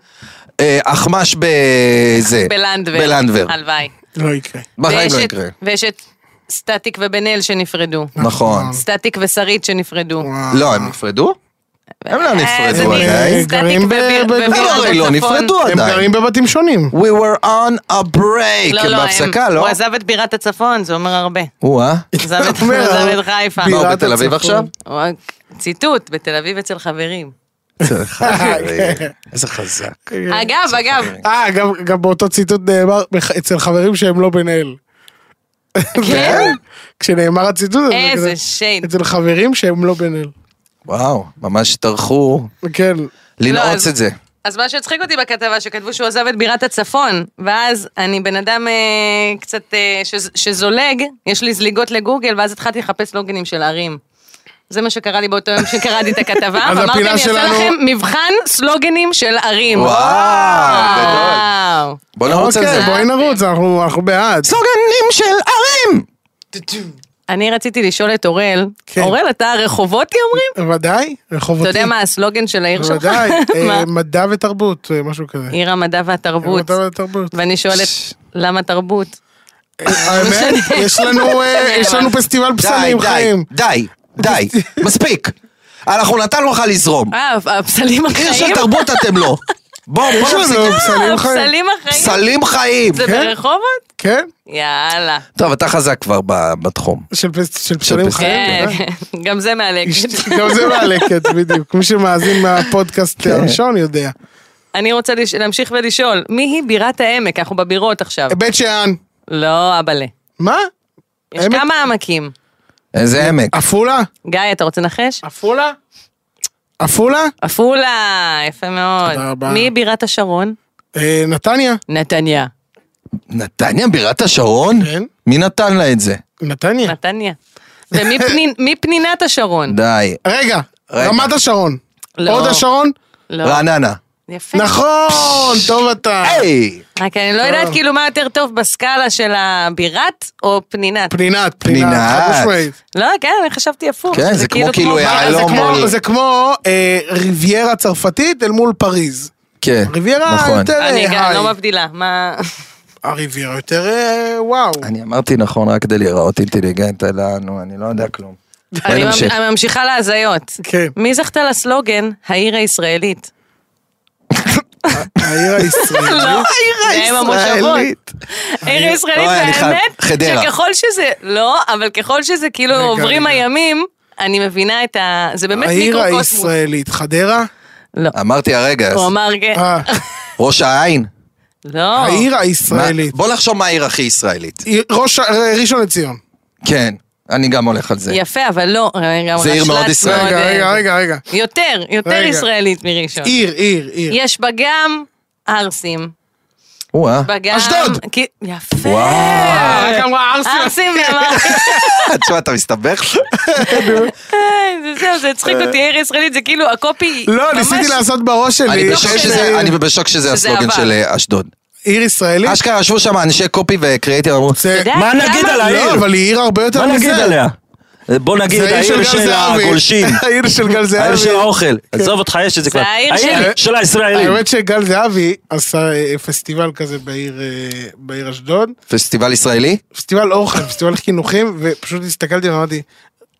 S2: אה, אחמש בזה.
S4: בלנדבר.
S2: בלנדבר.
S4: הלוואי.
S3: לא יקרה.
S2: בחיים
S4: ויש
S2: לא
S4: את-
S2: יקרה.
S4: ויש את סטטיק ובן אל שנפרדו.
S2: נכון.
S4: סטטיק ושרית שנפרדו.
S3: וואו.
S2: לא, הם נפרדו? הם לא
S4: אה,
S2: נפרדו
S4: זה נראה-
S2: עדיין.
S4: סטטיק
S3: גרים
S4: וביר-
S3: ב-
S4: וביר
S2: הם
S3: בבירה
S2: הרי
S4: בצפון.
S2: לא נפרדו
S3: הם
S2: עדיין.
S3: גרים בבתים שונים.
S2: We were on a break.
S4: לא,
S2: הם
S4: לא,
S2: בהפסקה,
S4: הם-
S2: לא?
S4: הוא עזב את בירת הצפון, זה אומר הרבה.
S2: או-אה.
S4: הוא עזב את- הוא
S3: אומר,
S4: עזב את חיפה.
S2: מה, הוא
S3: בירת
S2: בתל אביב
S3: הצפון.
S2: עכשיו?
S4: הוא- ציטוט, בתל אביב אצל חברים.
S2: איזה חזק.
S4: אגב, אגב,
S3: אה, גם- גם באותו ציטוט נאמר בח- אצל חברים שהם לא בן אל.
S2: אה?
S4: כן?
S3: כשנאמר הציטוט הזה,
S2: כן?
S4: איזה
S3: כזה,
S4: שיין.
S3: אצל חברים שהם לא בן אל.
S2: וואו, ממש טרחו
S3: כן,
S2: לנעוץ
S4: לא, אז-
S2: את זה.
S4: אז מה שהצחיק אותי בכתבה, שכתבו שהוא עזב את בירת הצפון, ואז אני בן אדם אה, קצת אה, שז- שזולג, יש לי זליגות לגוגל, ואז התחלתי לחפש לוגנים של ערים. זה מה שקרה לי באותו יום שקראתי את הכתבה,
S3: אז
S4: ואמרתי,
S3: הפינה
S4: אני אעשה
S3: שלנו-
S4: לכם מבחן סלוגנים של ערים.
S2: וואו,
S4: וואו.
S2: בוא נרוץ על זה.
S3: אוקיי, בואי נרוץ, אנחנו אנחנו בעד.
S2: סלוגנים של ערים!
S4: אני רציתי לשאול את אורל,
S3: כן.
S4: אורל, אתה רחובותי אומרים?
S3: ודאי, רחובותי.
S4: אתה יודע מה הסלוגן של העיר שלך?
S3: ודאי, אה,
S4: מה?
S3: מדע ותרבות, אה, משהו כזה. אה,
S4: עיר המדע והתרבות.
S3: מדע ותרבות. אה,
S4: ואני שואלת, למה תרבות? לא
S3: האמת, יש לנו, אה, יש לנו פסטיבל
S2: די,
S3: פסלים,
S2: די,
S4: אה,
S3: חיים.
S2: די, די, מספיק. אנחנו נתנו לך לזרום.
S4: אה, הפסלים
S2: עיר של
S4: החיים?
S2: תרבות אתם לא. בואו,
S3: יש
S2: בואו
S3: לנו
S2: נפסיק.
S3: פסלים חיים.
S4: הפסלים החיים?
S2: פסלים חיים.
S4: אה, זה
S3: כן.
S4: ברחובות?
S3: כן,
S4: יאללה.
S2: טוב, אתה חזק כבר ב- בתחום.
S3: של פס- של פסלים
S2: פס-
S3: חיים.
S4: כן,
S3: בוודאי.
S4: כן. גם זה מהלקט.
S3: גם זה מהלקט, בדיוק. מי שמאזין מהפודקאסט
S2: כן.
S3: הראשון יודע.
S4: אני רוצה לש- להמשיך ולשאול, מי היא בירת העמק? אנחנו בבירות
S2: אה.
S4: עכשיו.
S3: בית שאן.
S4: לא, אבאלה.
S3: מה?
S4: יש
S3: עמק?
S4: כמה עמקים.
S3: כן.
S2: איזה עמק.
S3: עפולה?
S4: גיא, אתה רוצה לנחש?
S3: עפולה? עפולה?
S4: עפולה, יפה
S3: תודה
S4: מאוד.
S3: רבה.
S4: מי היא בירת השרון?
S3: אה, נתניה?
S4: נתניה.
S2: נתניה בירת השרון?
S3: כן.
S2: מי נתן לה את זה?
S3: נתניה.
S4: נתניה. ומי פני- מי פנינת השרון?
S2: די.
S3: רגע,
S2: רגע.
S3: רמת השרון.
S4: לא.
S3: עוד השרון?
S4: לא.
S2: רעננה.
S4: יפה.
S3: נכון, טוב אתה.
S2: היי!
S4: רק אני לא יודעת כאילו מה יותר טוב בסקאלה של הבירת או פנינת.
S3: פנינת,
S2: פנינת.
S3: פנינת, חד משמעית.
S4: לא, כן, אני חשבתי הפוך.
S2: כן, זה כמו כאילו
S3: אה, זה
S2: יהלום
S3: כמו-
S2: בריא.
S3: זה כמו אה, ריביירה צרפתית אל מול פריז.
S2: כן,
S3: ריביירה
S2: נכון.
S3: יותר
S4: אני
S3: אה,
S4: גם לא
S3: היי.
S4: מבדילה, מה...
S3: הריביירה יותר אה, וואו.
S2: אני אמרתי נכון רק כדי להיראות אינטליגנט לנו, אני לא יודע כלום. בואי
S4: אני
S2: נמשיך.
S4: ממ- ממשיכה להזיות.
S3: כן.
S4: מי זכתה לסלוגן העיר הישראלית?
S3: העיר הישראלית.
S4: לא, העיר
S2: ישראלית.
S4: העיר הישראלית,
S2: אוי, אני חייב-
S4: והאמת,
S2: חדרה.
S4: שככל שזה, לא, אבל ככל שזה כאילו
S3: רגע,
S4: עוברים
S3: רגע.
S4: הימים, אני מבינה את ה... זה באמת
S3: העיר
S4: מיקרוקוסמוס.
S3: הישראלית. חדרה?
S4: לא,
S2: אמרתי הרגע, אז
S4: הוא אמר, כן,
S3: אה,
S2: ראש העין.
S4: לא.
S3: העיר הישראלית.
S2: מה- בוא נחשוב מה העיר הכי ישראלית.
S3: ראש, ראשון אה, לציון.
S2: כן. אני גם הולך על זה.
S4: יפה, אבל לא, גם
S2: זה עיר מאוד
S4: רשל"צ
S2: ישראלית.
S4: מאוד,
S3: רגע,
S4: אה,
S3: רגע, רגע, רגע.
S4: יותר, יותר
S3: רגע.
S4: ישראלית מראשון.
S3: עיר, עיר, עיר.
S4: יש בה גם ערסים,
S2: או-אה.
S4: בגם...
S3: אשדוד!
S4: כי- יפה!
S2: וואו.
S3: רק אמרה ערסים.
S4: אה, ערסים, ואמרתי,
S2: תשמע, אתה מסתבך?
S4: "אה, זה זהו, זה הצחיק אותי, עיר ישראלית, זה כאילו הקופי...
S3: לא,
S4: ממש-
S3: ניסיתי לעשות בראש שלי. אה,
S2: אני
S4: לא
S2: בשוק
S4: חושבת
S2: שזה-
S4: שזה-
S2: אני בשוק שזה
S4: שזה
S2: הסלוגן
S4: עבר.
S2: של אה, אשדוד.
S3: עיר ישראלית?
S2: אשכרה ישבו שם אנשי קופי וקריאייטר, אמרו,
S3: זה-
S4: יודע
S5: מה
S4: כמה-
S5: נגיד על העיר?
S3: לא, אבל היא עיר הרבה
S5: מה
S3: יותר מזה.
S5: נגיד עליה? בוא נגיד,
S3: זה העיר של
S5: העיר
S3: גל
S5: של
S3: זהבי.
S5: הגולשים,
S3: העיר של גל זהבי.
S5: העיר של
S3: כן.
S5: האוכל. עזוב אותך, יש את זה כבר.
S4: העיר
S5: העיר
S4: שלי.
S5: של הישראלים.
S3: אה, האמת שגל זהבי עשה אה, פסטיבל כזה בעיר, אה, בעיר אשדוד,
S2: פסטיבל ישראלי?
S3: פסטיבל אוכל, פסטיבל חינוכים, ופשוט הסתכלתי ואמרתי,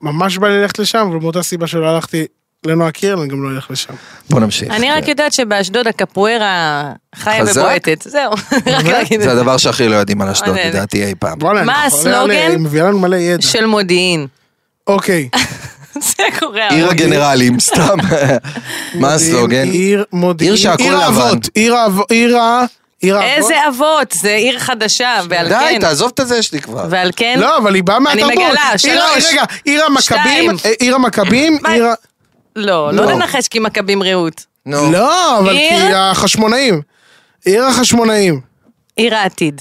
S3: ממש בא לי ללכת לשם, ומאותה סיבה שלא הלכתי לנועה קירל, אני גם לא אלך לשם.
S2: בוא נמשיך.
S4: אני רק יודעת שבאשדוד הקפוארה חיה
S2: חזק?
S4: ובועטת, זהו. רק להגיד
S2: זה
S4: את זה.
S2: הדבר שהכי לא יודעים על אשדוד,
S4: עודד.
S2: לדעתי אי פעם.
S3: בוא'נה, אני
S4: מה
S3: חולה עליה,
S4: הסלוגן?
S3: היא מביאה לנו מלא ידע.
S4: של מודיעין.
S3: אוקיי.
S4: זה קורה.
S2: עיר
S4: הרבה.
S2: הגנרלים, סתם. מה הסלוגן?
S3: עיר מודיעין.
S2: עיר שהכל
S3: עיר האבות,
S2: לבן.
S3: עיר האבות, עיר ה... עיר האבות.
S4: איזה אבות, זה עיר חדשה, ועל
S2: די,
S4: כן,
S2: תעזוב את הזה שלי כבר.
S4: ועל כן,
S3: לא, אבל היא באה
S4: אני
S3: מהתרבות.
S4: מגלה,
S3: עיר ה-
S4: שלוש,
S3: רגע, עיר המכבים, אה,
S4: שתיים.
S3: עיר המכבים,
S4: מה?
S3: עיר ה...
S4: לא,
S2: לא.
S4: לא לנחש כי מכבים רעות.
S2: נו.
S3: לא, אבל
S4: עיר-
S3: כי החשמונאים. עיר החשמונאים.
S4: עיר העתיד.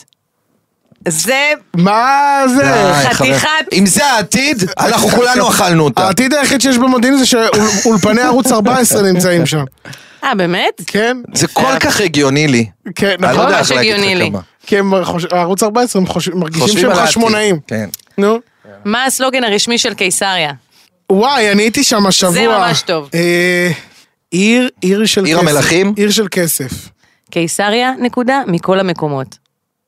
S4: זה
S3: מה זה?
S2: די, חבר.
S4: חתיכת-
S2: אם זה העתיד, אנחנו כולנו אכלנו אותה.
S3: העתיד היחיד שיש במודיעין זה שאולפני ערוץ 14 נמצאים שם.
S4: אה, באמת?
S3: כן?
S2: זה כל כך הגיוני לי.
S3: כן,
S2: אני לא
S3: נכון?
S2: יודע
S4: ממש
S2: איך להגיד
S4: הגיוני
S2: לך
S4: לי.
S2: כמה.
S3: כי הם חוש- ערוץ 14 הם חוש- מרגישים
S2: חושבים
S3: שהם
S2: על העתיד.
S3: חשמונאים.
S2: כן.
S3: נו.
S4: מה הסלוגן הרשמי של קיסריה?
S3: וואי, אני הייתי שם השבוע.
S4: ממש טוב.
S3: אה, עיר, עיר של
S2: עיר
S3: כסף.
S2: המלכים?
S3: עיר של כסף.
S4: קיסריה, נקודה, מכל המקומות.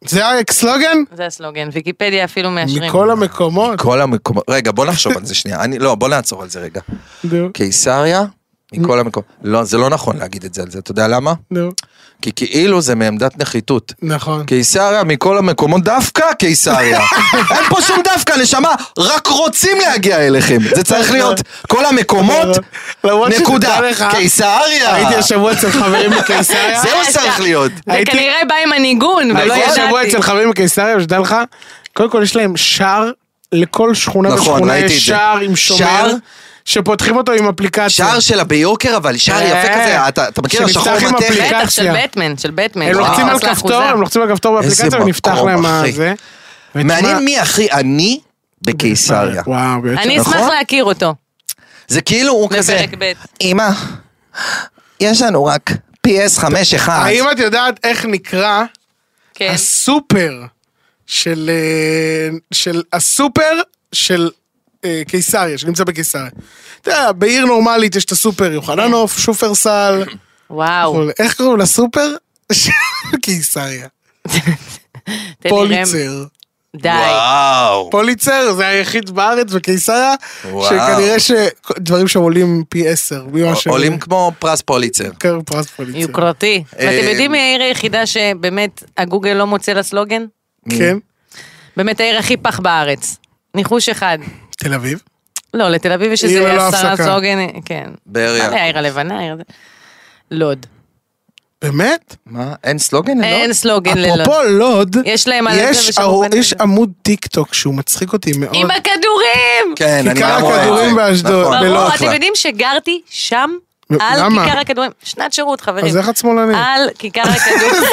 S3: זה הסלוגן?
S4: זה הסלוגן, ויקיפדיה אפילו מאשרים.
S3: מכל המקומות.
S2: כל המקומות. רגע, בוא נחשוב על זה שנייה. אני, לא, בוא נעצור על זה רגע.
S3: נו,
S2: קיסריה, מכל המקומות. לא, זה לא נכון להגיד את זה על זה. אתה יודע למה?
S3: נו,
S2: כי כאילו זה מעמדת נחיתות.
S3: נכון.
S2: קיסריה מכל המקומות, דווקא קיסריה. אין פה שום דווקא, נשמה, רק רוצים להגיע אליכם. זה צריך להיות כל המקומות,
S3: למרות שתדע
S2: נקודה.
S3: לך,
S2: קיסריה.
S3: הייתי השבוע אצל חברים בקיסריה.
S2: זה מה שצריך להיות.
S4: אה, זה
S3: הייתי-
S4: כנראה בא עם הניגון, ולא
S2: נכון.
S3: הייתי השבוע
S4: לא ידעתי.
S3: אצל חברים בקיסריה, ושתדע לך, קודם כל יש להם שער, לכל שכונה
S2: נכון,
S3: ושכונה
S2: ראיתי את
S3: יש
S2: זה.
S3: שער עם שומר,
S2: שער?
S3: שפותחים אותו עם אפליקציה.
S2: שער שלה ביוקר, אבל שער יפה
S3: אה,
S2: כזה, אתה אתה מכיר,
S3: שנפתח
S2: השחור
S3: עם
S2: מתכת.
S3: אפליקציה.
S4: בטח, של בטמן, של בטמן.
S3: הם
S4: של
S3: לוחצים על
S4: נכנס
S3: כפתור,
S4: לאחוזה.
S3: הם לוחצים על כפתור
S2: איזה
S3: באפליקציה ונפתח
S2: מקום,
S3: להם
S2: אחי.
S3: הזה. ותשמע-
S2: מעניין מי הכי עני בקיסריה.
S3: וואו, בעצם.
S4: אני אשמח
S2: נכון?
S4: להכיר אותו.
S2: זה כאילו הוא כזה,
S4: בפרק ב'.
S2: אמא, יש לנו רק PS5-1.
S3: האם את יודעת איך נקרא
S4: כן.
S3: הסופר של אה, של הסופר של אה, קיסריה, שנמצא בקיסריה? אתה יודע, בעיר נורמלית יש את הסופר יוחננוף, שופרסל,
S4: וואו.
S3: כל- איך קוראים לסופר? של קיסריה.
S4: תן לי רם.
S3: פוליצר.
S4: די.
S2: וואו.
S3: פוליצר זה היחיד בארץ בקיסריה,
S2: וואו.
S3: שכנראה שדברים שם עולים פי עשר. ממה ש-
S2: עולים כמו פרס פוליצר.
S3: כן, פרס פוליצר.
S4: יוקרתי. ואתם
S2: אה,
S4: יודעים מי העיר היחידה שבאמת הגוגל לא מוצא לה סלוגן?
S3: כן,
S4: באמת העיר הכי פח בארץ. ניחוש אחד.
S3: תל אביב.
S4: לא, לתל אביב יש
S3: עיר ללא
S4: איזה עשרה
S3: הפסקה.
S4: סלוגן, כן.
S2: באר
S4: מה זה
S2: יעקב.
S3: אה,
S4: העיר הלבנה? העיר- לוד.
S3: באמת?
S2: מה? אין סלוגן? ללוד?
S4: אין סלוגן ללוד.
S3: אפרופו לוד,
S4: יש להם על זה
S3: יש
S4: ושם
S3: ערו-
S4: בן-
S3: יש עמוד טיק טוק שהוא מצחיק אותי מאוד.
S4: עם הכדורים!
S2: כן, אני
S3: כיכר
S2: גם רואה את זה.
S3: הכדורים באשדוד,
S2: נכון.
S3: בלוד.
S4: ברור,
S2: אחלה.
S4: אתם יודעים שגרתי שם?
S3: נו,
S4: על
S3: למה?
S4: כיכר הכדורים. שנת שירות, חברים.
S3: אז איך את שמאלנית?
S4: על כיכר הכדורים.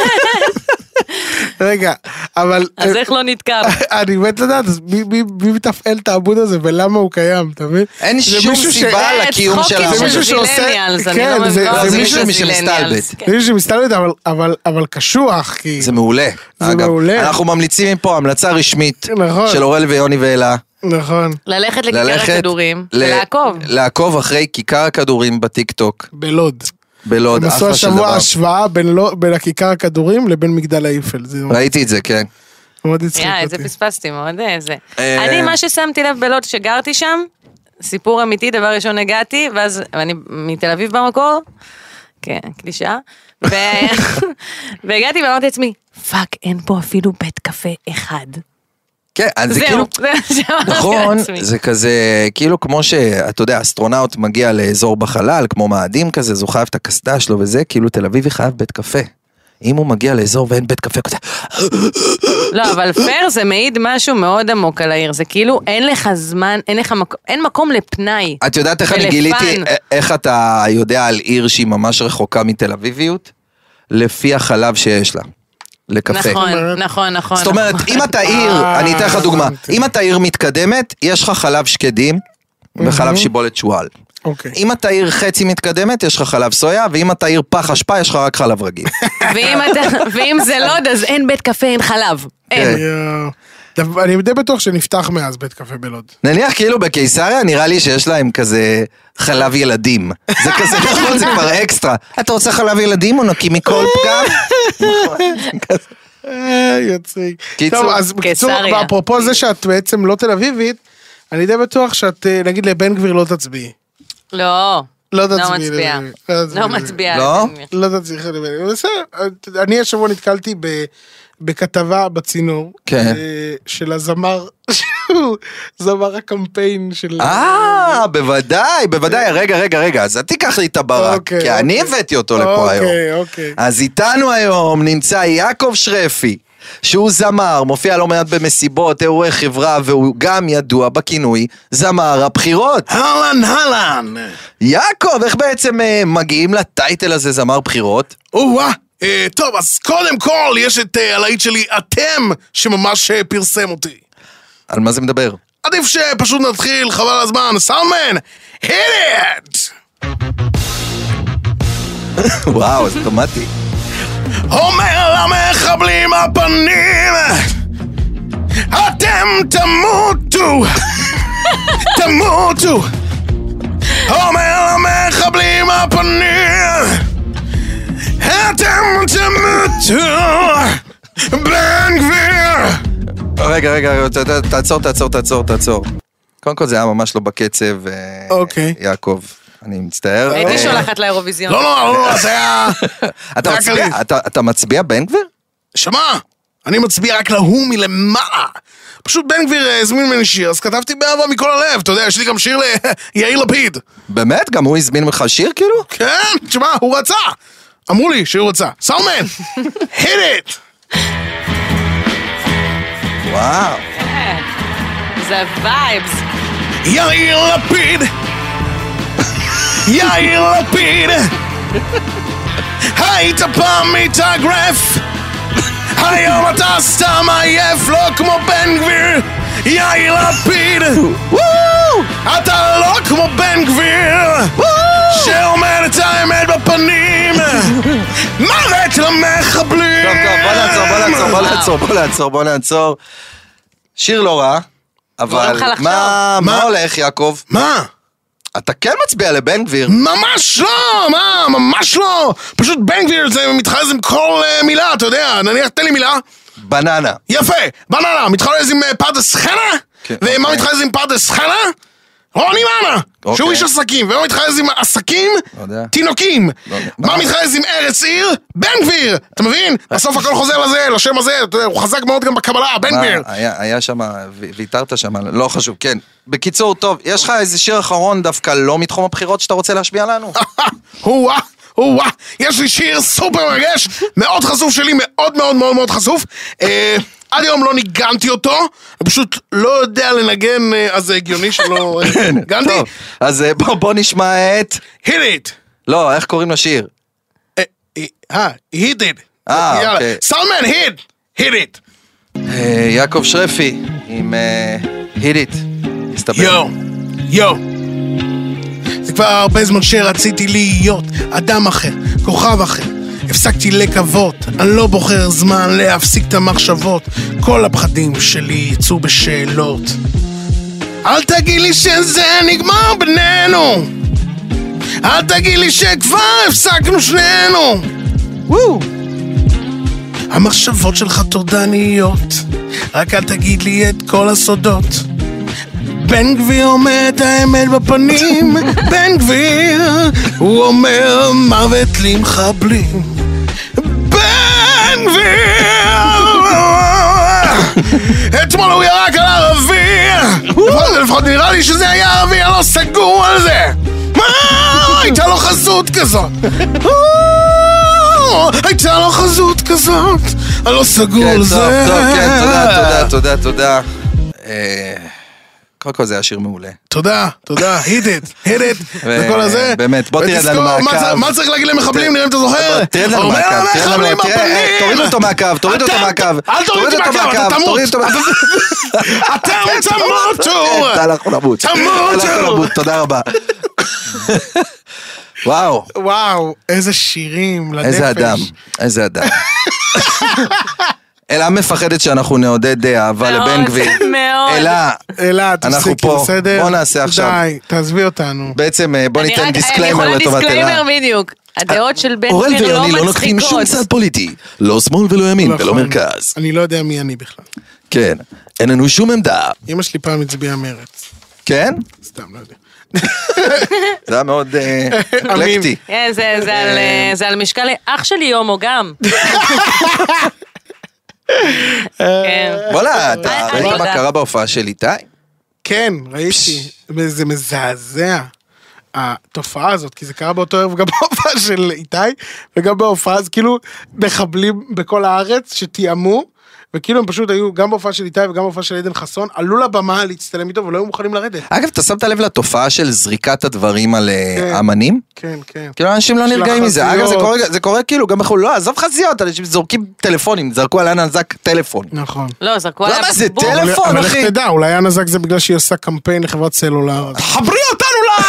S3: רגע, אבל...
S4: אז איך לא נתקע?
S3: אני מת לדעת, אז מי- מי מי מתפעל את העמוד הזה ולמה הוא קיים, אתה מבין?
S2: אין
S3: זה
S2: שום
S3: מישהו ש-
S2: סיבה
S4: זה
S2: לקיום של
S4: צחוקים
S2: העמוד הזה.
S3: זה מישהו שעושה-
S4: millennials, אני
S3: כן,
S4: לא
S3: זה- זה
S4: מבינה.
S2: מישהו שמסתלבט.
S4: millennials, כן.
S3: מישהו שמסתלבט, אבל- אבל- אבל קשוח, כי...
S2: זה מעולה.
S3: זה
S2: אגב,
S3: מעולה.
S2: אנחנו ממליצים מפה המלצה רשמית
S3: נכון.
S2: של אורל ויוני ואלה.
S3: נכון.
S4: ללכת לכיכר
S2: ללכת...
S4: הכדורים,
S2: ל-
S4: ולעקוב.
S2: לעקוב אחרי כיכר הכדורים בטיקטוק
S3: בלוד.
S2: בלוד.
S3: הם עשו
S2: אחלה של
S3: השבוע
S2: דבר.
S3: השוואה בין לא- בין הכיכר הכדורים לבין מגדל האיפל. זה
S2: ראיתי את זה, כן.
S3: מאוד הצחיק
S4: יא, את אה, זה
S3: אותי.
S4: פספסתי מאוד, אה, זה.
S2: אה.
S4: אני, מה ששמתי לב בלוד שגרתי שם, סיפור אמיתי, דבר ראשון הגעתי, ואז אני מתל אביב במקור, כן, קלישאה, ו- והגעתי ואמרתי לעצמי, פאק, אין פה אפילו בית קפה אחד.
S2: כן, אז זה
S4: זהו,
S2: כאילו...
S4: זה מה שאמרתי
S2: נכון,
S4: לעצמי.
S2: זה כזה, כאילו כמו שאתה יודע, אסטרונאוט מגיע לאזור בחלל, כמו מאדים כזה, אז הוא חייב את הקסדה שלו וזה, כאילו תל אביב היא חייב בית קפה. אם הוא מגיע לאזור ואין בית קפה כזה,
S4: לא, אבל פייר זה מעיד משהו מאוד עמוק על העיר. זה כאילו אין לך זמן, אין לך מקום, אין מקום לפנאי.
S2: את יודעת איך אני
S4: ולפאן.
S2: גיליתי, א- איך אתה יודע על עיר שהיא ממש רחוקה מתל אביביות? לפי החלב שיש לה. לקפה.
S4: נכון,
S3: אומרת-
S4: נכון, נכון.
S2: זאת אומרת,
S4: נכון.
S2: אם אתה עיר,
S3: אה,
S2: אני אתן לך דוגמה,
S3: הבנתי.
S2: אם אתה עיר מתקדמת, יש לך חלב שקדים וחלב שיבולת שועל.
S3: אוקיי.
S2: אם אתה עיר חצי מתקדמת, יש לך חלב סויה, ואם אתה עיר פח אשפה, יש לך רק חלב רגיל.
S4: ואם אתה- ואם זה לוד, אז אין בית קפה, אין חלב. אין.
S2: כן.
S3: יואו. אה, דו- אני די בטוח שנפתח מאז בית קפה בלוד.
S2: נניח כאילו בקיסריה, נראה לי שיש להם כזה חלב ילדים. זה כזה נכון, זה כבר אקסטרה. אתה רוצה חלב ילדים או נקי מכל פגם?
S3: אה, יציג.
S2: קיצור,
S3: טוב, אז בקיצור,
S4: קיסריה.
S3: אפרופו זה שאת בעצם לא תל אביבית, אני די בטוח שאת, אה, נגיד לבן גביר לא תצביעי.
S4: לא.
S3: לא
S4: לא
S3: תצביעי
S4: מצביעה.
S3: לבן גביר.
S4: לא מצביעה.
S2: לא?
S4: לבן גביר.
S3: לא תצליח לדבר. בסדר, אני השבוע נתקלתי ב- בכתבה בצינור,
S2: כן.
S3: אה, של הזמר, שהוא זמר הקמפיין של...
S2: אה, בוודאי, בוודאי. רגע, רגע, רגע, אז אל תיקח לי את הברק,
S3: כן. אוקיי,
S2: כי אני
S3: אוקיי.
S2: הבאתי אותו לפה היום.
S3: אוקיי, אוקיי.
S2: אז איתנו היום נמצא יעקב שרפי, שהוא זמר, מופיע לא מעט במסיבות, אירועי חברה, והוא גם ידוע בכינוי זמר הבחירות.
S3: אהלן אהלן!
S2: יעקב, איך בעצם אה, מגיעים לטייטל הזה זמר בחירות?
S3: או-אה. אה, טוב, אז קודם כל יש את אה, הלהיט שלי אתם, שממש אה, פרסם אותי.
S2: על מה זה מדבר?
S3: עדיף שפשוט נתחיל, חבל על הזמן, סאונדמן, hit it!
S2: וואו, זה אוטומטי.
S3: אומר למחבלים הפנים, אתם תמותו, תמותו. אומר למחבלים הפנים, אתם תמותו. בן גביר!
S2: רגע, רגע, רגע, ת- ת- תעצור, תעצור, תעצור, תעצור. קודם כל זה היה ממש לא בקצב, אה,
S3: אוקיי.
S2: יעקב. אני מצטער.
S3: לא.
S4: הייתי
S2: אה,
S4: שולחת לאירוויזיון.
S6: לא, לא, לא, לא, זה היה...
S2: אתה
S6: רק
S2: מצביע-
S6: לי.
S2: אתה- אתה מצביע בן גביר?
S6: שמע, אני מצביע רק להוא מלמעלה. פשוט בן גביר אה, הזמין ממני שיר, אז כתבתי באהבה מכל הלב, אתה יודע, יש לי גם שיר ליאיר לפיד.
S2: באמת? גם הוא הזמין ממך שיר כאילו?
S6: כן, תשמע, הוא רצה. אמרו לי שהוא רצה. סאומן, hit it!
S2: וואו.
S4: כן. זה וייבס.
S6: יאיר לפיד! יאיר לפיד! היית פעם מתאגרף! היום אתה סתם עייף, לא כמו בן גביר! יאיר לפיד! אתה לא כמו בן גביר! שאומר את האמת בפנים! מוות למחבלים!
S2: טוב, טוב, בוא נעצור, בוא נעצור,
S6: כן.
S2: בוא נעצור, בוא נעצור, בוא נעצור. שיר לא רע, אבל
S4: לך לחשוב.
S2: מה מה הולך, יעקב?
S6: מה?
S2: אתה כן מצביע לבן גביר.
S6: ממש לא! מה? ממש לא! פשוט בן גביר זה מתחרז עם כל אה, מילה, אתה יודע, נניח, תן לי מילה.
S2: בננה.
S6: יפה, בננה, מתחרז עם אה, פרדס חנה?
S2: כן,
S6: ומה
S2: אוקיי.
S6: מתחרז עם פרדס חנה? רוני מאנה, שהוא
S2: אוקיי.
S6: איש עסקים, ומה מתחרז עם עסקים?
S2: לא יודע. לא
S6: תינוקים.
S2: יודע.
S6: מה מתחרז עם ארץ עיר? בן גביר! אתה מבין? בסוף הכל חוזר לזה, לשם הזה, אתה יודע, הוא חזק מאוד גם בקבלה, בן
S2: מה,
S6: גביר.
S2: היה- היה שם, ויתרת שם, לא חשוב, כן. בקיצור, טוב, יש לך איזה שיר אחרון דווקא לא מתחום הבחירות שאתה רוצה להשמיע לנו?
S6: או-אה, או-אה, יש לי שיר סופר מרגש, מאוד חשוף שלי, מאוד מאוד מאוד מאוד חשוף. אה, עד היום לא ניגנתי אותו, אני פשוט לא יודע לנגן, אה, אז זה הגיוני שלא אה, ניגנתי.
S2: טוב, אז אה, בוא בוא נשמע את...
S6: hit it.
S2: לא, איך קוראים לשיר?
S6: אה, he did.
S2: אה, אוקיי.
S6: סאונדמן, hit, hit it.
S2: אה, יעקב שרפי עם אה, hit it. מסתבר.
S6: יואו, יואו. זה כבר הרבה זמן שרציתי להיות אדם אחר, כוכב אחר. הפסקתי לקוות, אני לא בוחר זמן להפסיק את המחשבות. כל הפחדים שלי יצאו בשאלות. אל תגיד לי שזה נגמר בינינו! אל תגיד לי שכבר הפסקנו שנינו!
S2: וואו.
S6: המחשבות שלך טורדניות, רק אל תגיד לי את כל הסודות. בן גביר אומר את האמת בפנים, בן גביר, הוא אומר מוות למחבלים. בן גביר! אתמול הוא ירק על ערבי! לפחות- לפחות נראה לי שזה היה ערבי, אני לא סגור על זה! מה? הייתה לו חזות כזאת!
S3: לא, הייתה לו חזות כזאת,
S6: לא
S3: הלא סגור
S2: כן,
S3: זה.
S2: טוב, טוב, כן, תודה, תודה, תודה, תודה. אה, קודם כל זה היה שיר מעולה.
S3: תודה, תודה, hit it, hit it,
S2: ו-
S3: וכל הזה.
S2: באמת, בוא תרד לנו
S3: ותזכור, מה
S2: מהקו.
S3: צר- מה צריך להגיד למחבלים, נראה אם אתה זוכר?
S2: תרד לנו
S3: אומר לא
S2: מהקו, תרד לנו,
S3: למחבלים
S2: תראה, אה,
S3: בפנים!
S2: תוריד אותו מהקו, תוריד אותו
S3: אתה-
S2: מהקו.
S3: אל תוריד אותי מהקו, אתה
S2: תוריד אותו
S3: תמות.
S2: מהקו.
S3: אתם
S2: כן, אתה
S3: תמותו!
S2: הלך למות.
S3: תמות.
S2: אתה הלך למות, תודה רבה. וואו,
S7: וואו,
S3: איזה שירים לנפש.
S2: איזה אדם, איזה אדם. אלה מפחדת שאנחנו נעודד אה, אהבה
S4: מאוד,
S2: לבן גביר.
S4: מאוד.
S2: אלה,
S3: אלה,
S2: אנחנו
S3: תפסיקי,
S2: פה.
S3: בסדר?
S2: בוא נעשה עכשיו.
S3: די, תעזבי אותנו.
S2: בעצם אה, בוא
S4: אני רק-
S2: ניתן
S4: אני
S2: דיסקליימר
S4: יכולה
S2: לטובת אלה.
S4: דיסקליימר בדיוק. הדעות של בן
S2: אורל
S4: גביר
S2: ויוני לא
S4: לא
S2: לוקחים שום צד
S4: מצחיקות.
S2: פוליטי, לא שמאל ולא ימין ולא
S3: נכון.
S2: מרכז.
S3: אני לא יודע מי אני בכלל.
S2: כן, אין לנו שום עמדה.
S3: אמא שלי פעם הצביעה מרץ.
S2: כן?
S3: סתם, לא יודע.
S2: זה היה מאוד אה, אקלקטי.
S4: כן, זה- זה על, אה, זה על משקל אח שלי הומו גם. כן.
S2: וואלה, אתה
S4: אה,
S2: ראית
S4: אה,
S2: מה
S4: אה.
S2: קרה בהופעה של איתי?
S3: כן, ראיתי. זה מזעזע. התופעה הזאת, כי זה קרה באותו ערב גם בהופעה של איתי, וגם בהופעה, אז כאילו מחבלים בכל הארץ שתיאמו, וכאילו הם פשוט היו גם בהופעה של איתי וגם בהופעה של עדן חסון, עלו לבמה להצטלם איתו ולא היו מוכנים לרדת.
S2: אגב, אתה שמת לב לתופעה של זריקת הדברים על אה,
S3: כן.
S2: אמנים?
S3: כן, כן.
S2: כאילו אנשים לא
S3: של
S2: נרגעים מזה, אגב זה
S3: החזיות.
S2: קורה, זה קורה כאילו גם בחו"ל, לא עזוב חזיות, אנשים זורקים טלפונים, זרקו על הנזק טלפון.
S3: נכון.
S4: לא, זרקו עליו
S2: למה זה
S4: בקבוק.
S2: טלפון?
S3: אבל איך
S2: אחי?
S3: תדע, אולי הנזק זה בגלל שהיא עושה קמפיין לחברת סלולר. אז-
S2: חברי אותנו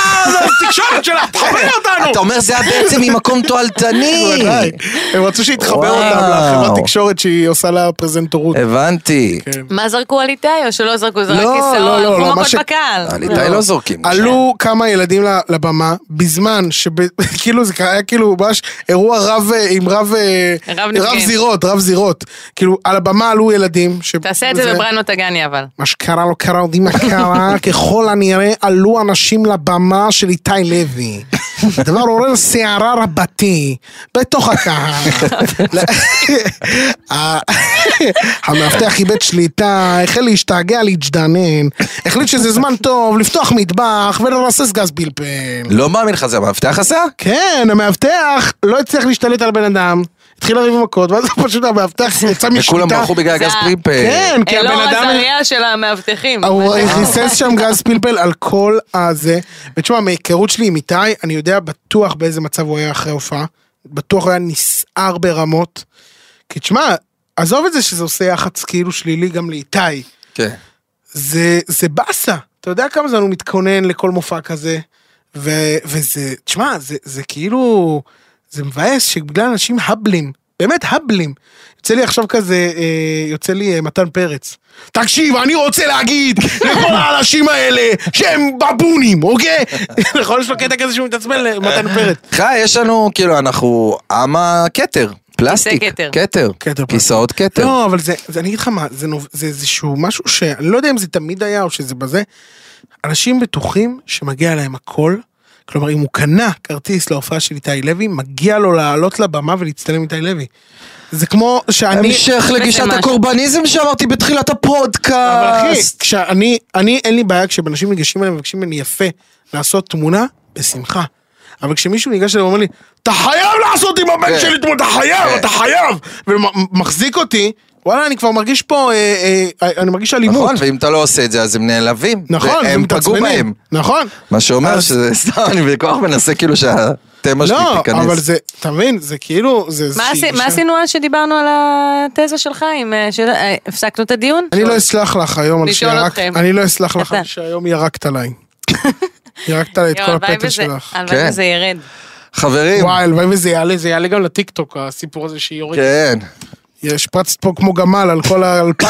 S2: לתקשורת שלה, חברי אותנו! אתה אומר זה היה בעצם ממקום תועלתני.
S3: בוודאי. הם רצו שיתחבר
S2: וואו. אה,
S3: אותם לחברת תקשורת שהיא עושה לה פרזנטורות.
S2: הבנתי.
S3: כן.
S4: מה זרקו על איתי או שלא זרקו? זרק
S3: לא,
S4: כיסאות,
S3: לא, לא,
S4: זרקו
S3: לא, מה
S4: מכות
S3: ש-
S4: בקהל.
S2: על איתי לא זורקים.
S3: עלו כמה ילדים ל- לבמה בזמן שכאילו זה היה כאילו ממש אירוע רב אה, עם רב אה,
S4: רב נפגעים.
S3: רב זירות רב זירות כאילו על הבמה עלו ילדים. ש-
S4: תעשה את זה
S3: וזה-
S4: בברנו טגני אבל.
S3: מה שקרה לא קרה יודעים מה קרה ככל הנראה עלו אנשים לבמה של איתי לוי. הדבר עורר סערה רבתי בתוך הקהל. ה- המאבטח איבד שליטה, החל להשתעגע להתג'דנן, החליט שזה זמן טוב לפתוח מטבח ולרסס גז פלפל.
S2: לא מאמין לך, זה המאבטח עשה?
S3: כן, המאבטח לא הצליח להשתלט על בן אדם, התחיל לריב עם מכות, ואז פשוט המאבטח יצא משליטה.
S2: וכולם ברחו בגלל
S4: זה
S2: גז אה,
S4: ה-
S2: פרימפ.
S3: כן, כי הבן
S4: אלאור
S3: אדם...
S4: עזריה של המאבטחים.
S3: הוא ריסס שם גז פלפל על כל הזה. ותשמע, מההיכרות שלי עם איתי, אני יודע בטוח באיזה מצב הוא היה אחרי הופעה. בטוח הוא היה נסער ברמות. כי תשמע, עזוב את זה שזה עושה יח"צ כאילו שלילי גם לאיתי.
S2: כן.
S3: זה, זה באסה. אתה יודע כמה זמן הוא מתכונן לכל מופע כזה? ו, וזה, תשמע, זה, זה כאילו, זה מבאס שבגלל אנשים הבלים, באמת הבלים. יוצא לי עכשיו כזה, אה, יוצא לי אה, מתן פרץ. תקשיב, אני רוצה להגיד לכל האנשים האלה שהם בבונים, אוקיי? נכון, יש לו קטע כזה שהוא מתעצבן למתן פרץ.
S2: חי, יש לנו, כאילו, אנחנו עם הכתר. פלסטיק.
S4: כיסא כתר.
S2: כתר.
S3: כתר פלסטיק.
S2: כיסאות כתר.
S3: לא, אבל זה, זה, אני אגיד לך מה, זה, נוב- זה איזשהו משהו שאני לא יודע אם זה תמיד היה או שזה בזה. אנשים בטוחים שמגיע להם הכל. כלומר, אם הוא קנה כרטיס להופעה של איתי לוי, מגיע לו לעלות לבמה ולהצטלם עם איתי לוי. זה כמו שאני...
S2: המשך לגישת
S4: משהו.
S2: הקורבניזם שאמרתי בתחילת
S3: אבל אחי,
S2: הפודקאסט.
S3: כשאני, אני אין לי בעיה כשאנשים ניגשים אליי ומבקשים ממני יפה לעשות תמונה, בשמחה. אבל כשמישהו ניגש אליי ואומר לי, אתה חייב לעשות עם הבן
S2: כן.
S3: שלי תמונה, אתה
S2: כן.
S3: חייב, אתה חייב! ומחזיק אותי, וואלה, אני כבר מרגיש פה, אה, אה, אני מרגיש אלימות.
S2: נכון, ואם אתה לא עושה את זה, אז הם נעלבים.
S3: נכון,
S2: והם פגעו
S3: ומתעצבנים.
S2: בהם.
S3: נכון.
S2: מה שאומר
S3: אז-
S2: שזה סתם, אני בכוח מנסה כאילו שהתמה שלי
S3: לא,
S2: תיכנס.
S3: אבל זה, אתה מבין, זה כאילו, זה...
S4: מה
S3: איזושהי
S4: עשי- מה
S3: גישה.
S4: עשינו אז שדיברנו על התזה שלך? עם, אה, של- אה, הפסקנו את הדיון?
S3: אני לא אסלח לך היום על
S4: לשאול
S3: שירקת,
S4: אתכם.
S3: אני לא אסלח לך
S4: קטן.
S3: שהיום ירקת עליי. ירקת עליי את
S4: יואו,
S3: כל
S4: הלוואי
S3: הפטל
S4: וזה-
S3: שלך.
S4: הלוואי
S2: כן.
S4: וזה ירד.
S2: חברים,
S3: וואי, הלוואי וזה יעלה, זה יעלה גם לטיקטוק, הסיפור הזה שהיא יורקת.
S2: כן.
S3: היא השפרצת פה כמו גמל על כל האלפקה.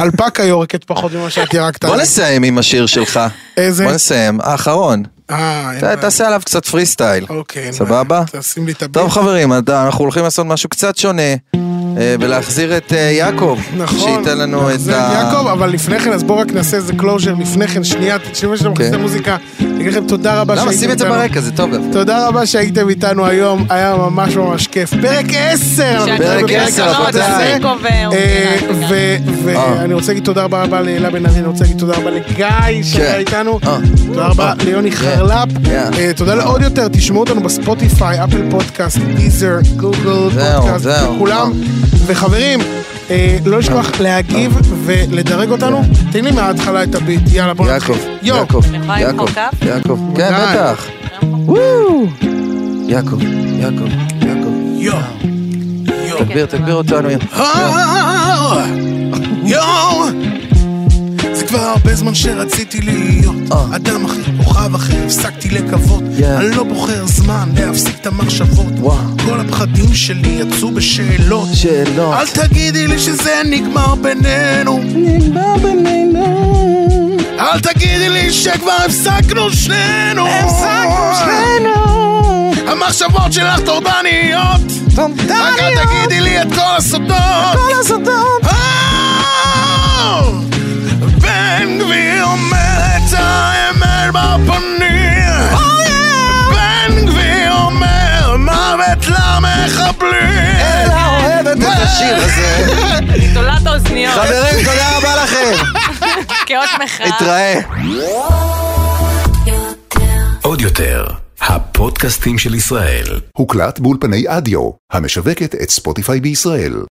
S3: אלפקה יורקת פחות ממה שאת ירקת.
S2: בוא
S3: עליי.
S2: נסיים עם השיר שלך.
S3: איזה?
S2: בוא נסיים, האחרון.
S3: אה, אין
S2: ת-
S3: בעיה.
S2: תעשה עליו קצת פרי סטייל.
S3: אוקיי. אין
S2: סבבה?
S3: בעיה. תשים לי את הביט.
S2: טוב חברים, אתה- אנחנו הולכים לעשות משהו קצת שונה אה, ולהחזיר את אה, יעקב,
S3: נכון.
S2: שייתן לנו את
S3: זה
S2: ה...
S3: יעקב, אבל לפני כן, אז בואו רק נעשה איזה קלוז'ר לפני כן, שנייה, תקשיבו שאתם מכניסים את המוזיקה.
S6: אני אגיד לכם תודה רבה
S2: אוקיי. למה? שים את זה
S6: איתנו.
S2: ברקע, זה טוב. דווקא.
S6: תודה רבה שהייתם איתנו היום, היה ממש ממש כיף. פרק 10!
S4: שאני לא
S2: פרק
S4: בפרק
S2: עשר,
S4: הבא,
S2: רבותיי.
S4: מצחיק עובר, אוקיי,
S2: אה.
S6: ואני רוצה להגיד תודה רבה רבה להילה בן ארי, אני רוצה להגיד תודה רבה לגיא שהיה איתנו,
S2: אה.
S6: תודה רבה ליוני חרלפ,
S2: Yeah.
S6: אה, תודה לעוד יותר, תשמעו אותנו בספוטיפיי, אפל פודקאסט, דיזר, גוגל,
S2: זהו,
S6: פודקאסט,
S2: זהו.
S6: כולם. וחברים, אה, לא לשכוח
S2: אה.
S6: להגיב ולדרג אותנו, תן לי מההתחלה את הביט, יאללה בוא
S2: יעקב,
S6: נתחיל. יו.
S2: יעקב,
S4: יכולה
S2: יעקב,
S4: למחוא כף?
S2: יעקב, כן
S6: די.
S2: בטח, וואו, יעקב, יעקב, יעקב,
S6: יו.
S2: תגביר, תגביר אותנו,
S6: אה, יואו! זה כבר הרבה זמן שרציתי להיות
S2: אה.
S6: אדם אחר, כוכב אחר, הפסקתי לקוות.
S2: Yeah.
S6: אני לא בוחר זמן להפסיק את המחשבות.
S2: וואו.
S6: כל הפחדים שלי יצאו בשאלות.
S2: שאלות,
S6: אל תגידי לי שזה נגמר בינינו.
S2: נגמר בינינו,
S6: אל תגידי לי שכבר הפסקנו שנינו. אה!
S2: הפסקנו שנינו,
S6: המחשבות שלך טורדניות. רק אל תגידי לי את כל הסודות.
S2: כל
S6: אה!
S2: הסודות,
S6: בן גביר אומר את האמת בפנים בן גביר אומר מוות למחבלים
S2: אלה אוהבת את השיר הזה,
S4: אני תולעת האוזניות
S2: חברים תודה רבה לכם,
S4: כאות מחאה.
S2: נתראה.
S1: עוד יותר, הפודקאסטים של ישראל.
S8: הוקלט באולפני אדיו, המשווקת את ספוטיפיי בישראל.